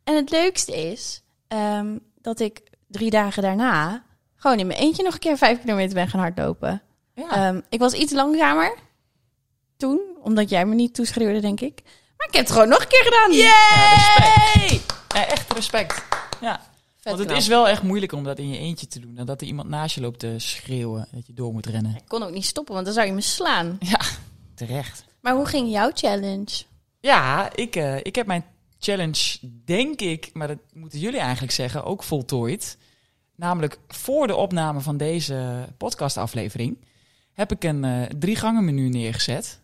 S1: En het leukste is ehm, dat ik drie dagen daarna gewoon in mijn eentje nog een keer vijf kilometer ben gaan hardlopen.
S2: Ja.
S1: Ehm, ik was iets langzamer toen, omdat jij me niet toeschreeuwde, denk ik. Maar ik heb het gewoon nog een keer gedaan.
S2: respect. Ja, echt respect. Ja. Want het
S1: knap.
S2: is wel echt moeilijk om dat in je eentje te doen. Dan dat er iemand naast je loopt te schreeuwen. Dat je door moet rennen.
S1: Ik kon ook niet stoppen, want dan zou je me slaan.
S2: Ja, terecht.
S1: Maar hoe ging jouw challenge?
S2: Ja, ik, eh, ik heb mijn challenge, denk ik, maar dat moeten jullie eigenlijk zeggen, ook voltooid. Namelijk voor de opname van deze podcastaflevering heb ik een eh drie gangen menu neergezet.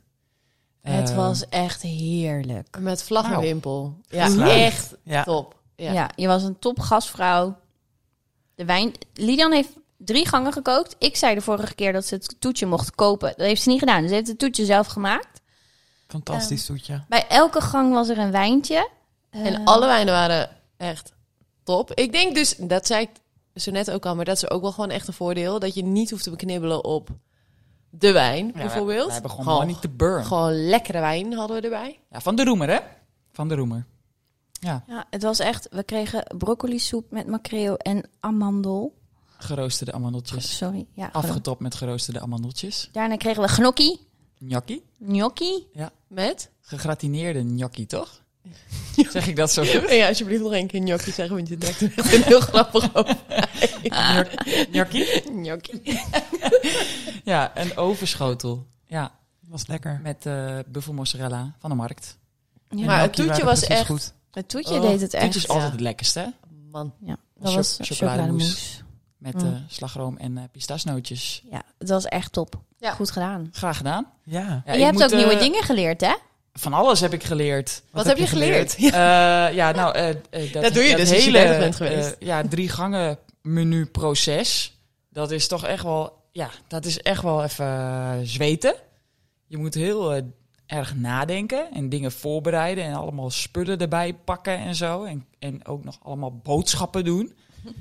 S1: het
S2: Eh,
S1: was echt heerlijk.
S4: Met vlaggenwimpel. Ja,
S5: Geslaagd.
S4: echt
S5: Ja.
S4: top.
S1: Ja.
S4: Ja.
S1: je was een top gastvrouw. De wijn... Lidian heeft drie gangen gekookt. Ik zei de vorige keer dat ze het toetje mocht kopen. Dat heeft ze niet gedaan. Ze heeft het toetje zelf gemaakt.
S5: Fantastisch zoetje.
S1: Bij elke gang was er een wijntje.
S4: En alle wijnen waren echt top. Ik denk dus, dat zei ik zo net ook al, maar dat is ook wel gewoon echt een voordeel. Dat je niet hoeft te beknibbelen op de wijn, bijvoorbeeld.
S2: We hebben gewoon money to burn.
S4: gewoon lekkere wijn hadden we erbij.
S2: Ja, van de roemer, hè? Van de roemer.
S1: Ja, het was echt... We kregen broccoli soep met makreel en amandel.
S2: Geroosterde amandeltjes.
S1: Sorry, ja. gewoon.
S2: Afgetopt met geroosterde amandeltjes.
S1: Daarna kregen we gnocchi.
S2: Gnocchi.
S1: Gnocchi.
S4: Met?
S2: Gegratineerde gnocchi, toch? Zeg ik dat zo goed?
S4: Ja, alsjeblieft nog één keer gnocchi zeggen, want je trekt er echt een heel grappig op.
S2: Ah. Gnocchi?
S4: Gnocchi.
S2: Ja, een overschotel. Ja,
S5: Was lekker.
S2: met eh buffelmozzarella van de markt.
S1: Ja.
S4: Maar het
S5: Elkie
S4: toetje
S5: waren
S4: was
S5: precies
S4: echt...
S5: goed.
S1: Het toetje
S4: Oh,
S1: deed het echt.
S2: Dit is altijd het lekkerste. hè?
S4: Man.
S1: Ja, dat
S2: Choc-
S1: was chocolademousse.
S2: chocolademousse. Met
S1: Mm.
S2: eh, slagroom en eh pistachenootjes.
S1: Ja, het was echt top.
S4: Ja.
S1: Goed gedaan.
S2: Graag gedaan.
S5: Ja.
S2: Ja,
S1: je
S2: ik
S1: hebt
S2: moet,
S1: ook nieuwe
S2: eh,
S1: dingen geleerd, hè?
S2: Van alles heb ik geleerd.
S4: Wat, heb je geleerd? Ja.
S2: Eh, ja, nou, eh, eh, dat,
S4: Dat doe je dus als je dertig bent geweest.
S2: eh, ja, drie gangen menu proces. Dat is toch echt wel, ja, dat is echt wel even eh, zweten. Je moet heel eh, erg nadenken en dingen voorbereiden en allemaal spullen erbij pakken en zo. En, en ook nog allemaal boodschappen doen.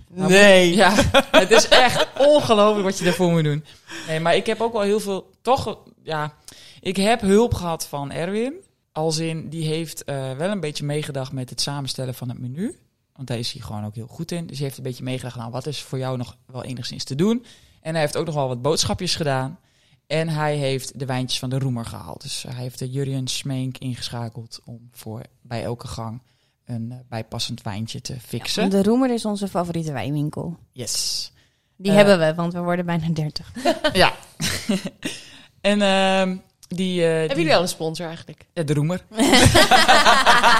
S4: Nee.
S2: Ja, het is echt ongelooflijk wat je daarvoor moet doen. Nee, maar ik heb ook wel heel veel, toch, ja, ik heb hulp gehad van Erwin. Als in, die heeft eh, wel een beetje meegedacht met het samenstellen van het menu. Want daar is hij gewoon ook heel goed in. Dus hij heeft een beetje meegedacht, nou, wat is voor jou nog wel enigszins te doen? En hij heeft ook nog wel wat boodschapjes gedaan. En hij heeft de wijntjes van de roemer gehaald. Dus hij heeft de Jurjen Smeenk ingeschakeld om voor bij elke gang een eh, bijpassend wijntje te fixen.
S1: De Roemer is onze favoriete wijnwinkel.
S2: Yes.
S1: Die
S2: Eh,
S1: hebben we, want we worden bijna 30.
S2: Ja. en ehm, die, eh, die-
S4: Hebben jullie al een sponsor eigenlijk?
S2: Ja, de roemer.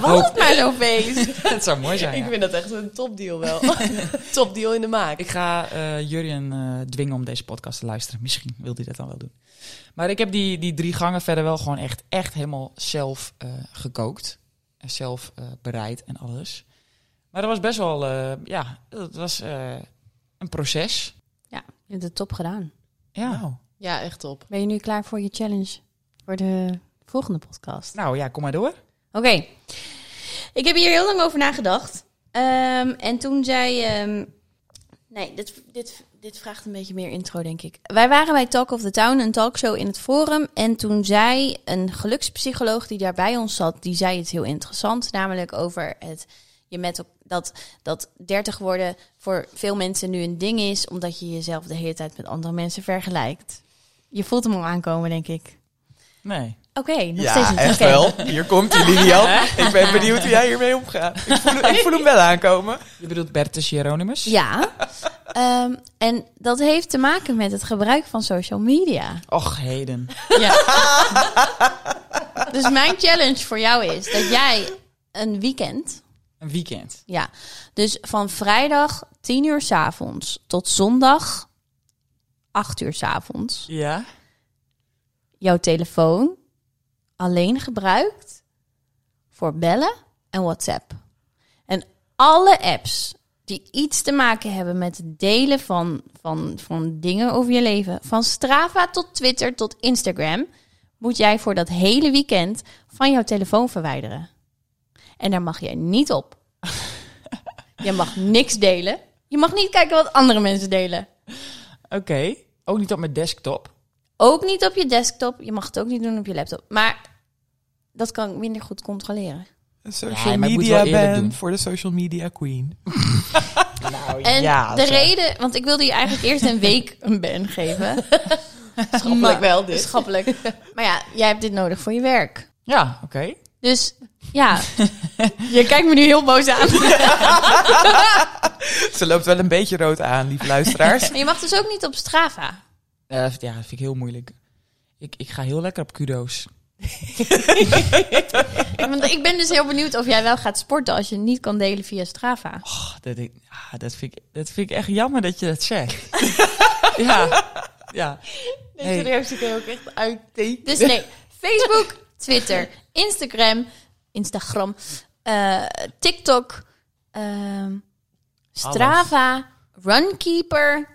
S1: Was het maar zo'n feest?
S2: Dat zou mooi zijn.
S4: Ik
S2: ja.
S4: vind dat echt een topdeal wel. topdeal in de maak.
S2: Ik ga eh Jurjen eh, dwingen om deze podcast te luisteren. Misschien wil hij dat dan wel doen. Maar ik heb die, die drie gangen verder wel gewoon echt, echt helemaal zelf eh, gekookt. En zelf eh, bereid en alles. Maar dat was best wel, eh, ja, dat was eh, een proces.
S1: Ja, je hebt het top gedaan.
S2: Ja.
S5: Nou,
S4: Ja, echt top.
S1: Ben je nu klaar voor je challenge voor de volgende podcast?
S2: Nou ja, kom maar door.
S1: Oké. Ik heb hier heel lang over nagedacht. Ehm, en toen zei... ehm, nee, dit, dit, dit vraagt een beetje meer intro, denk ik. Wij waren bij Talk of the Town, een talkshow in het Forum. En toen zei een gelukspsycholoog die daar bij ons zat... die zei iets heel interessant, namelijk over het... Je met, el- dat, dat 30 worden voor veel mensen nu een ding is... omdat je jezelf de hele tijd met andere mensen vergelijkt. Je voelt hem al aankomen, denk ik.
S2: Nee.
S1: Oké, nog steeds
S5: ja,
S1: niet.
S5: echt
S1: Oké.
S5: wel. Hier komt hij, Lilian. ik ben benieuwd hoe jij hiermee omgaat. Ik voel, ik voel hem wel aankomen.
S2: Je bedoelt Bertus Hieronymus?
S1: Ja. Ehm, en dat heeft te maken met het gebruik van social media.
S2: Och, heden.
S1: Dus mijn challenge voor jou is dat jij een weekend,
S2: Een weekend.
S1: ja, dus van vrijdag 10 uur 's avonds tot zondag 8 uur 's avonds,
S2: Ja.
S1: jouw telefoon alleen gebruikt voor bellen en WhatsApp. En alle apps die iets te maken hebben met het delen van, van, van dingen over je leven, van Strava tot Twitter tot Instagram, moet jij voor dat hele weekend van jouw telefoon verwijderen. En daar mag jij niet op. je mag niks delen. Je mag niet kijken wat andere mensen delen.
S2: Oké. Ook niet op mijn desktop.
S1: Ook niet op je desktop. Je mag het ook niet doen op je laptop. Maar dat kan ik minder goed controleren.
S5: Een social
S2: Ja, maar ik moet
S5: media
S2: wel eerlijk
S5: ban
S2: doen.
S5: voor de social media queen.
S1: En
S2: ja,
S1: de
S2: zo.
S1: reden, want ik wilde je eigenlijk eerst een week een ban geven.
S4: Schappelijk wel
S1: Dus
S4: dus.
S1: schappelijk. Maar ja, jij hebt dit nodig voor je werk.
S2: Ja, oké.
S1: Dus ja, je kijkt me nu heel boos aan.
S5: Ze loopt wel een beetje rood aan, lieve luisteraars.
S1: Maar je mag dus ook niet op Strava.
S2: Ja, Eh, dat vind- ja, dat vind ik heel moeilijk. Ik, ik ga heel lekker op kudo's.
S1: Want ik ben dus heel benieuwd of jij wel gaat sporten als je niet kan delen via Strava.
S2: Oh, dat, ik, ah, dat, vind ik, dat vind ik echt jammer dat je dat zegt. ja. Ja.
S4: Nee, serieus, ik kan je ook echt uittekenen.
S1: Dus nee, Facebook, Twitter, Instagram, Instagram, eh, TikTok, ehm, Strava, Runkeeper.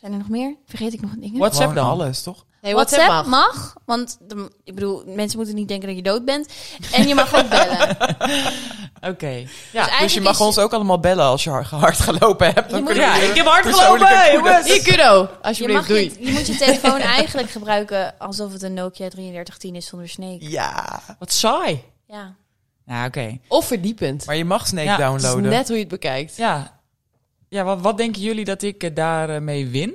S1: Zijn er nog meer? Vergeet ik nog dingen?
S2: WhatsApp
S5: Gewoon
S2: dan?
S5: alles, toch?
S4: Nee,
S1: WhatsApp,
S4: WhatsApp mag.
S1: mag. want de- ik bedoel, mensen moeten niet denken dat je dood bent. En je mag ook bellen.
S2: Oké.
S1: Dus
S2: Ja.
S5: Dus je
S1: eigenlijk
S5: mag
S1: is-
S5: ons ook allemaal bellen als je hard gelopen hebt. Dan
S1: moet-
S5: kunnen we
S1: Ja,
S5: je
S2: ik heb hard
S5: persoonlijke
S2: gelopen,
S5: kudos-
S2: jongens.
S4: Ikudo,
S1: Je,
S4: alsjeblieft,
S1: mag
S4: doei.
S1: je, je moet je telefoon eigenlijk gebruiken alsof het een Nokia 3310 is zonder Snake.
S5: Ja,
S2: Wat saai.
S1: Ja.
S2: Nou, oké.
S4: Of verdiepend.
S5: maar je mag Snake
S2: Ja, het is
S4: Het is
S5: downloaden.
S4: net hoe je het bekijkt.
S2: Ja. Ja, wat, wat denken jullie dat ik eh, daar eh, mee win?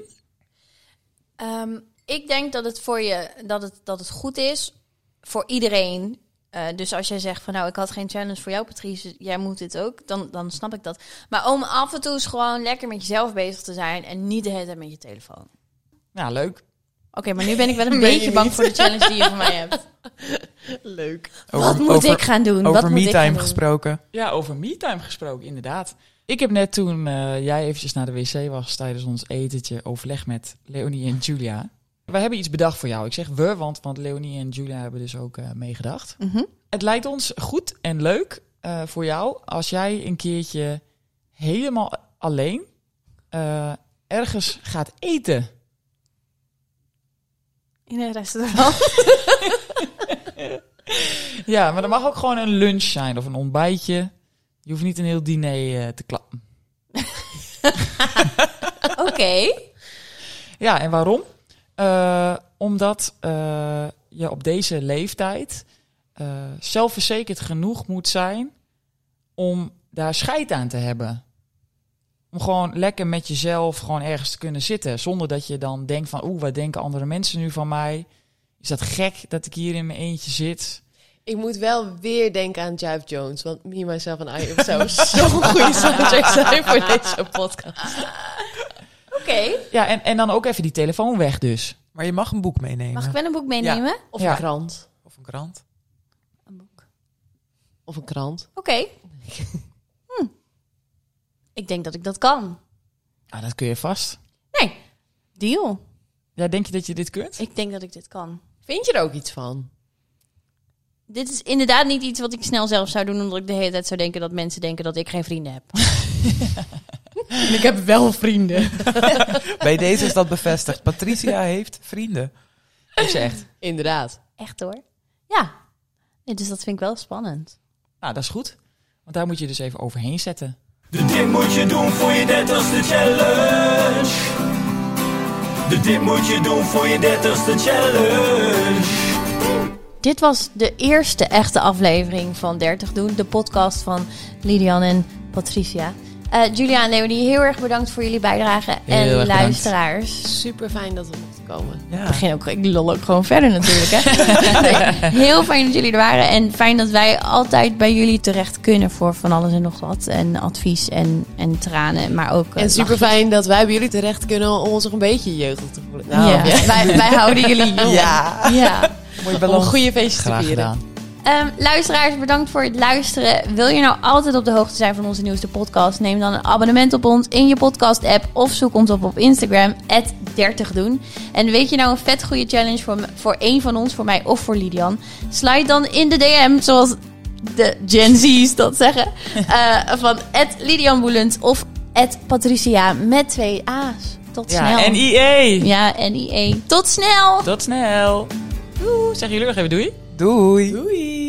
S1: Ehm, ik denk dat het voor je dat het, dat het goed is voor iedereen. Eh, dus als jij zegt van nou, ik had geen challenge voor jou, Patrice, jij moet dit ook, dan, dan snap ik dat. Maar om af en toe eens gewoon lekker met jezelf bezig te zijn en niet de hele tijd met je telefoon.
S2: Nou, leuk.
S1: Oké, maar nu ben ik wel een
S4: Ben je
S1: beetje bang
S4: niet.
S1: voor de challenge die je van mij hebt.
S4: Leuk.
S5: Over-
S1: Wat moet
S5: over-
S1: ik gaan doen? Wat
S5: Over
S1: moet ik gaan
S5: me-time
S1: doen?
S5: gesproken.
S2: Ja, over me-time gesproken, inderdaad. Ik heb net toen eh, jij eventjes naar de wc was tijdens ons etentje overleg met Leonie en Julia. We hebben iets bedacht voor jou. Ik zeg we, want, want Leonie en Julia hebben dus ook eh, meegedacht.
S1: Mhm.
S2: Het lijkt ons goed en leuk eh, voor jou als jij een keertje helemaal alleen eh, ergens gaat eten.
S1: In een restaurant.
S2: Ja, maar dat mag ook gewoon een lunch zijn of een ontbijtje. Je hoeft niet een heel diner eh, te klappen.
S1: Oké.
S2: Ja, en waarom? Eh, omdat eh, je op deze leeftijd eh, zelfverzekerd genoeg moet zijn om daar scheid aan te hebben. Om gewoon lekker met jezelf gewoon ergens te kunnen zitten. Zonder dat je dan denkt van, oeh, wat denken andere mensen nu van mij? Is dat gek dat ik hier in mijn eentje zit?
S4: Ik moet wel weer denken aan Jive Jones, want Me, Myself en I zou zo'n goede soundtrack zijn voor deze podcast.
S1: Oké.
S2: Ja, en, en dan ook even die telefoon weg dus.
S5: Maar je mag een boek meenemen.
S1: Mag ik wel een boek meenemen?
S4: Of
S2: Ja.
S4: een krant.
S5: Of een krant.
S1: Een boek.
S4: Of een krant.
S1: Oké. Hm. Ik denk dat ik dat kan.
S2: Ah, dat kun je vast.
S1: Nee. Deal.
S2: Ja, denk je dat je dit kunt?
S1: Ik denk dat ik dit kan.
S4: Vind je er ook iets van?
S1: Dit is inderdaad niet iets wat ik snel zelf zou doen, omdat ik de hele tijd zou denken dat mensen denken dat ik geen vrienden heb.
S4: Ik heb wel vrienden.
S5: Bij deze is dat bevestigd. Patricia heeft vrienden.
S2: Is echt.
S4: Inderdaad.
S1: Echt hoor. Ja. Nee, dus dat vind ik wel spannend.
S2: Nou, dat is goed. Want daar moet je dus even overheen zetten.
S3: De dit moet je doen voor je dertigste challenge. De dit moet je doen voor je dertigste challenge.
S1: Dit was de eerste echte aflevering van 30 Doen, de podcast van Lidian en Patricia. Eh Julia en Leonie, heel erg bedankt voor jullie bijdrage. en
S2: erg bedankt.
S1: luisteraars.
S4: Super fijn dat we mochten komen.
S5: Ja.
S1: begin ook, ik lol ook gewoon verder natuurlijk. Hè? Nee, heel fijn dat jullie er waren. En fijn dat wij altijd bij jullie terecht kunnen voor van alles en nog wat. En advies en, en tranen. Maar ook. eh,
S4: En super fijn dat wij bij jullie terecht kunnen om ons nog een beetje jeugdig te voelen.
S1: lachen.
S4: Nou,
S1: Ja. Wij, wij houden jullie jong.
S5: Ja.
S1: Ja.
S5: Mooi
S4: Om een
S5: balans.
S4: goede feestje te
S2: Graag
S4: vieren.
S2: gedaan.
S1: Ehm, luisteraars, bedankt voor het luisteren. Wil je nou altijd op de hoogte zijn van onze nieuwste podcast? Neem dan een abonnement op ons in je podcast-app of zoek ons op op Instagram, 30 doen. En weet je nou een vet goede challenge voor, m- voor één van ons, voor mij of voor Lidian? Slide dan in de DM, zoals de Gen Z's dat zeggen, eh, van Ed Lidian Boelens of Ed Patricia met twee A's. Tot
S2: Ja,
S1: snel.
S2: NIE.
S1: Ja, NIE. Tot snel!
S2: Tot snel. Doei. Zeggen jullie nog even doei?
S5: Doei.
S2: Doei.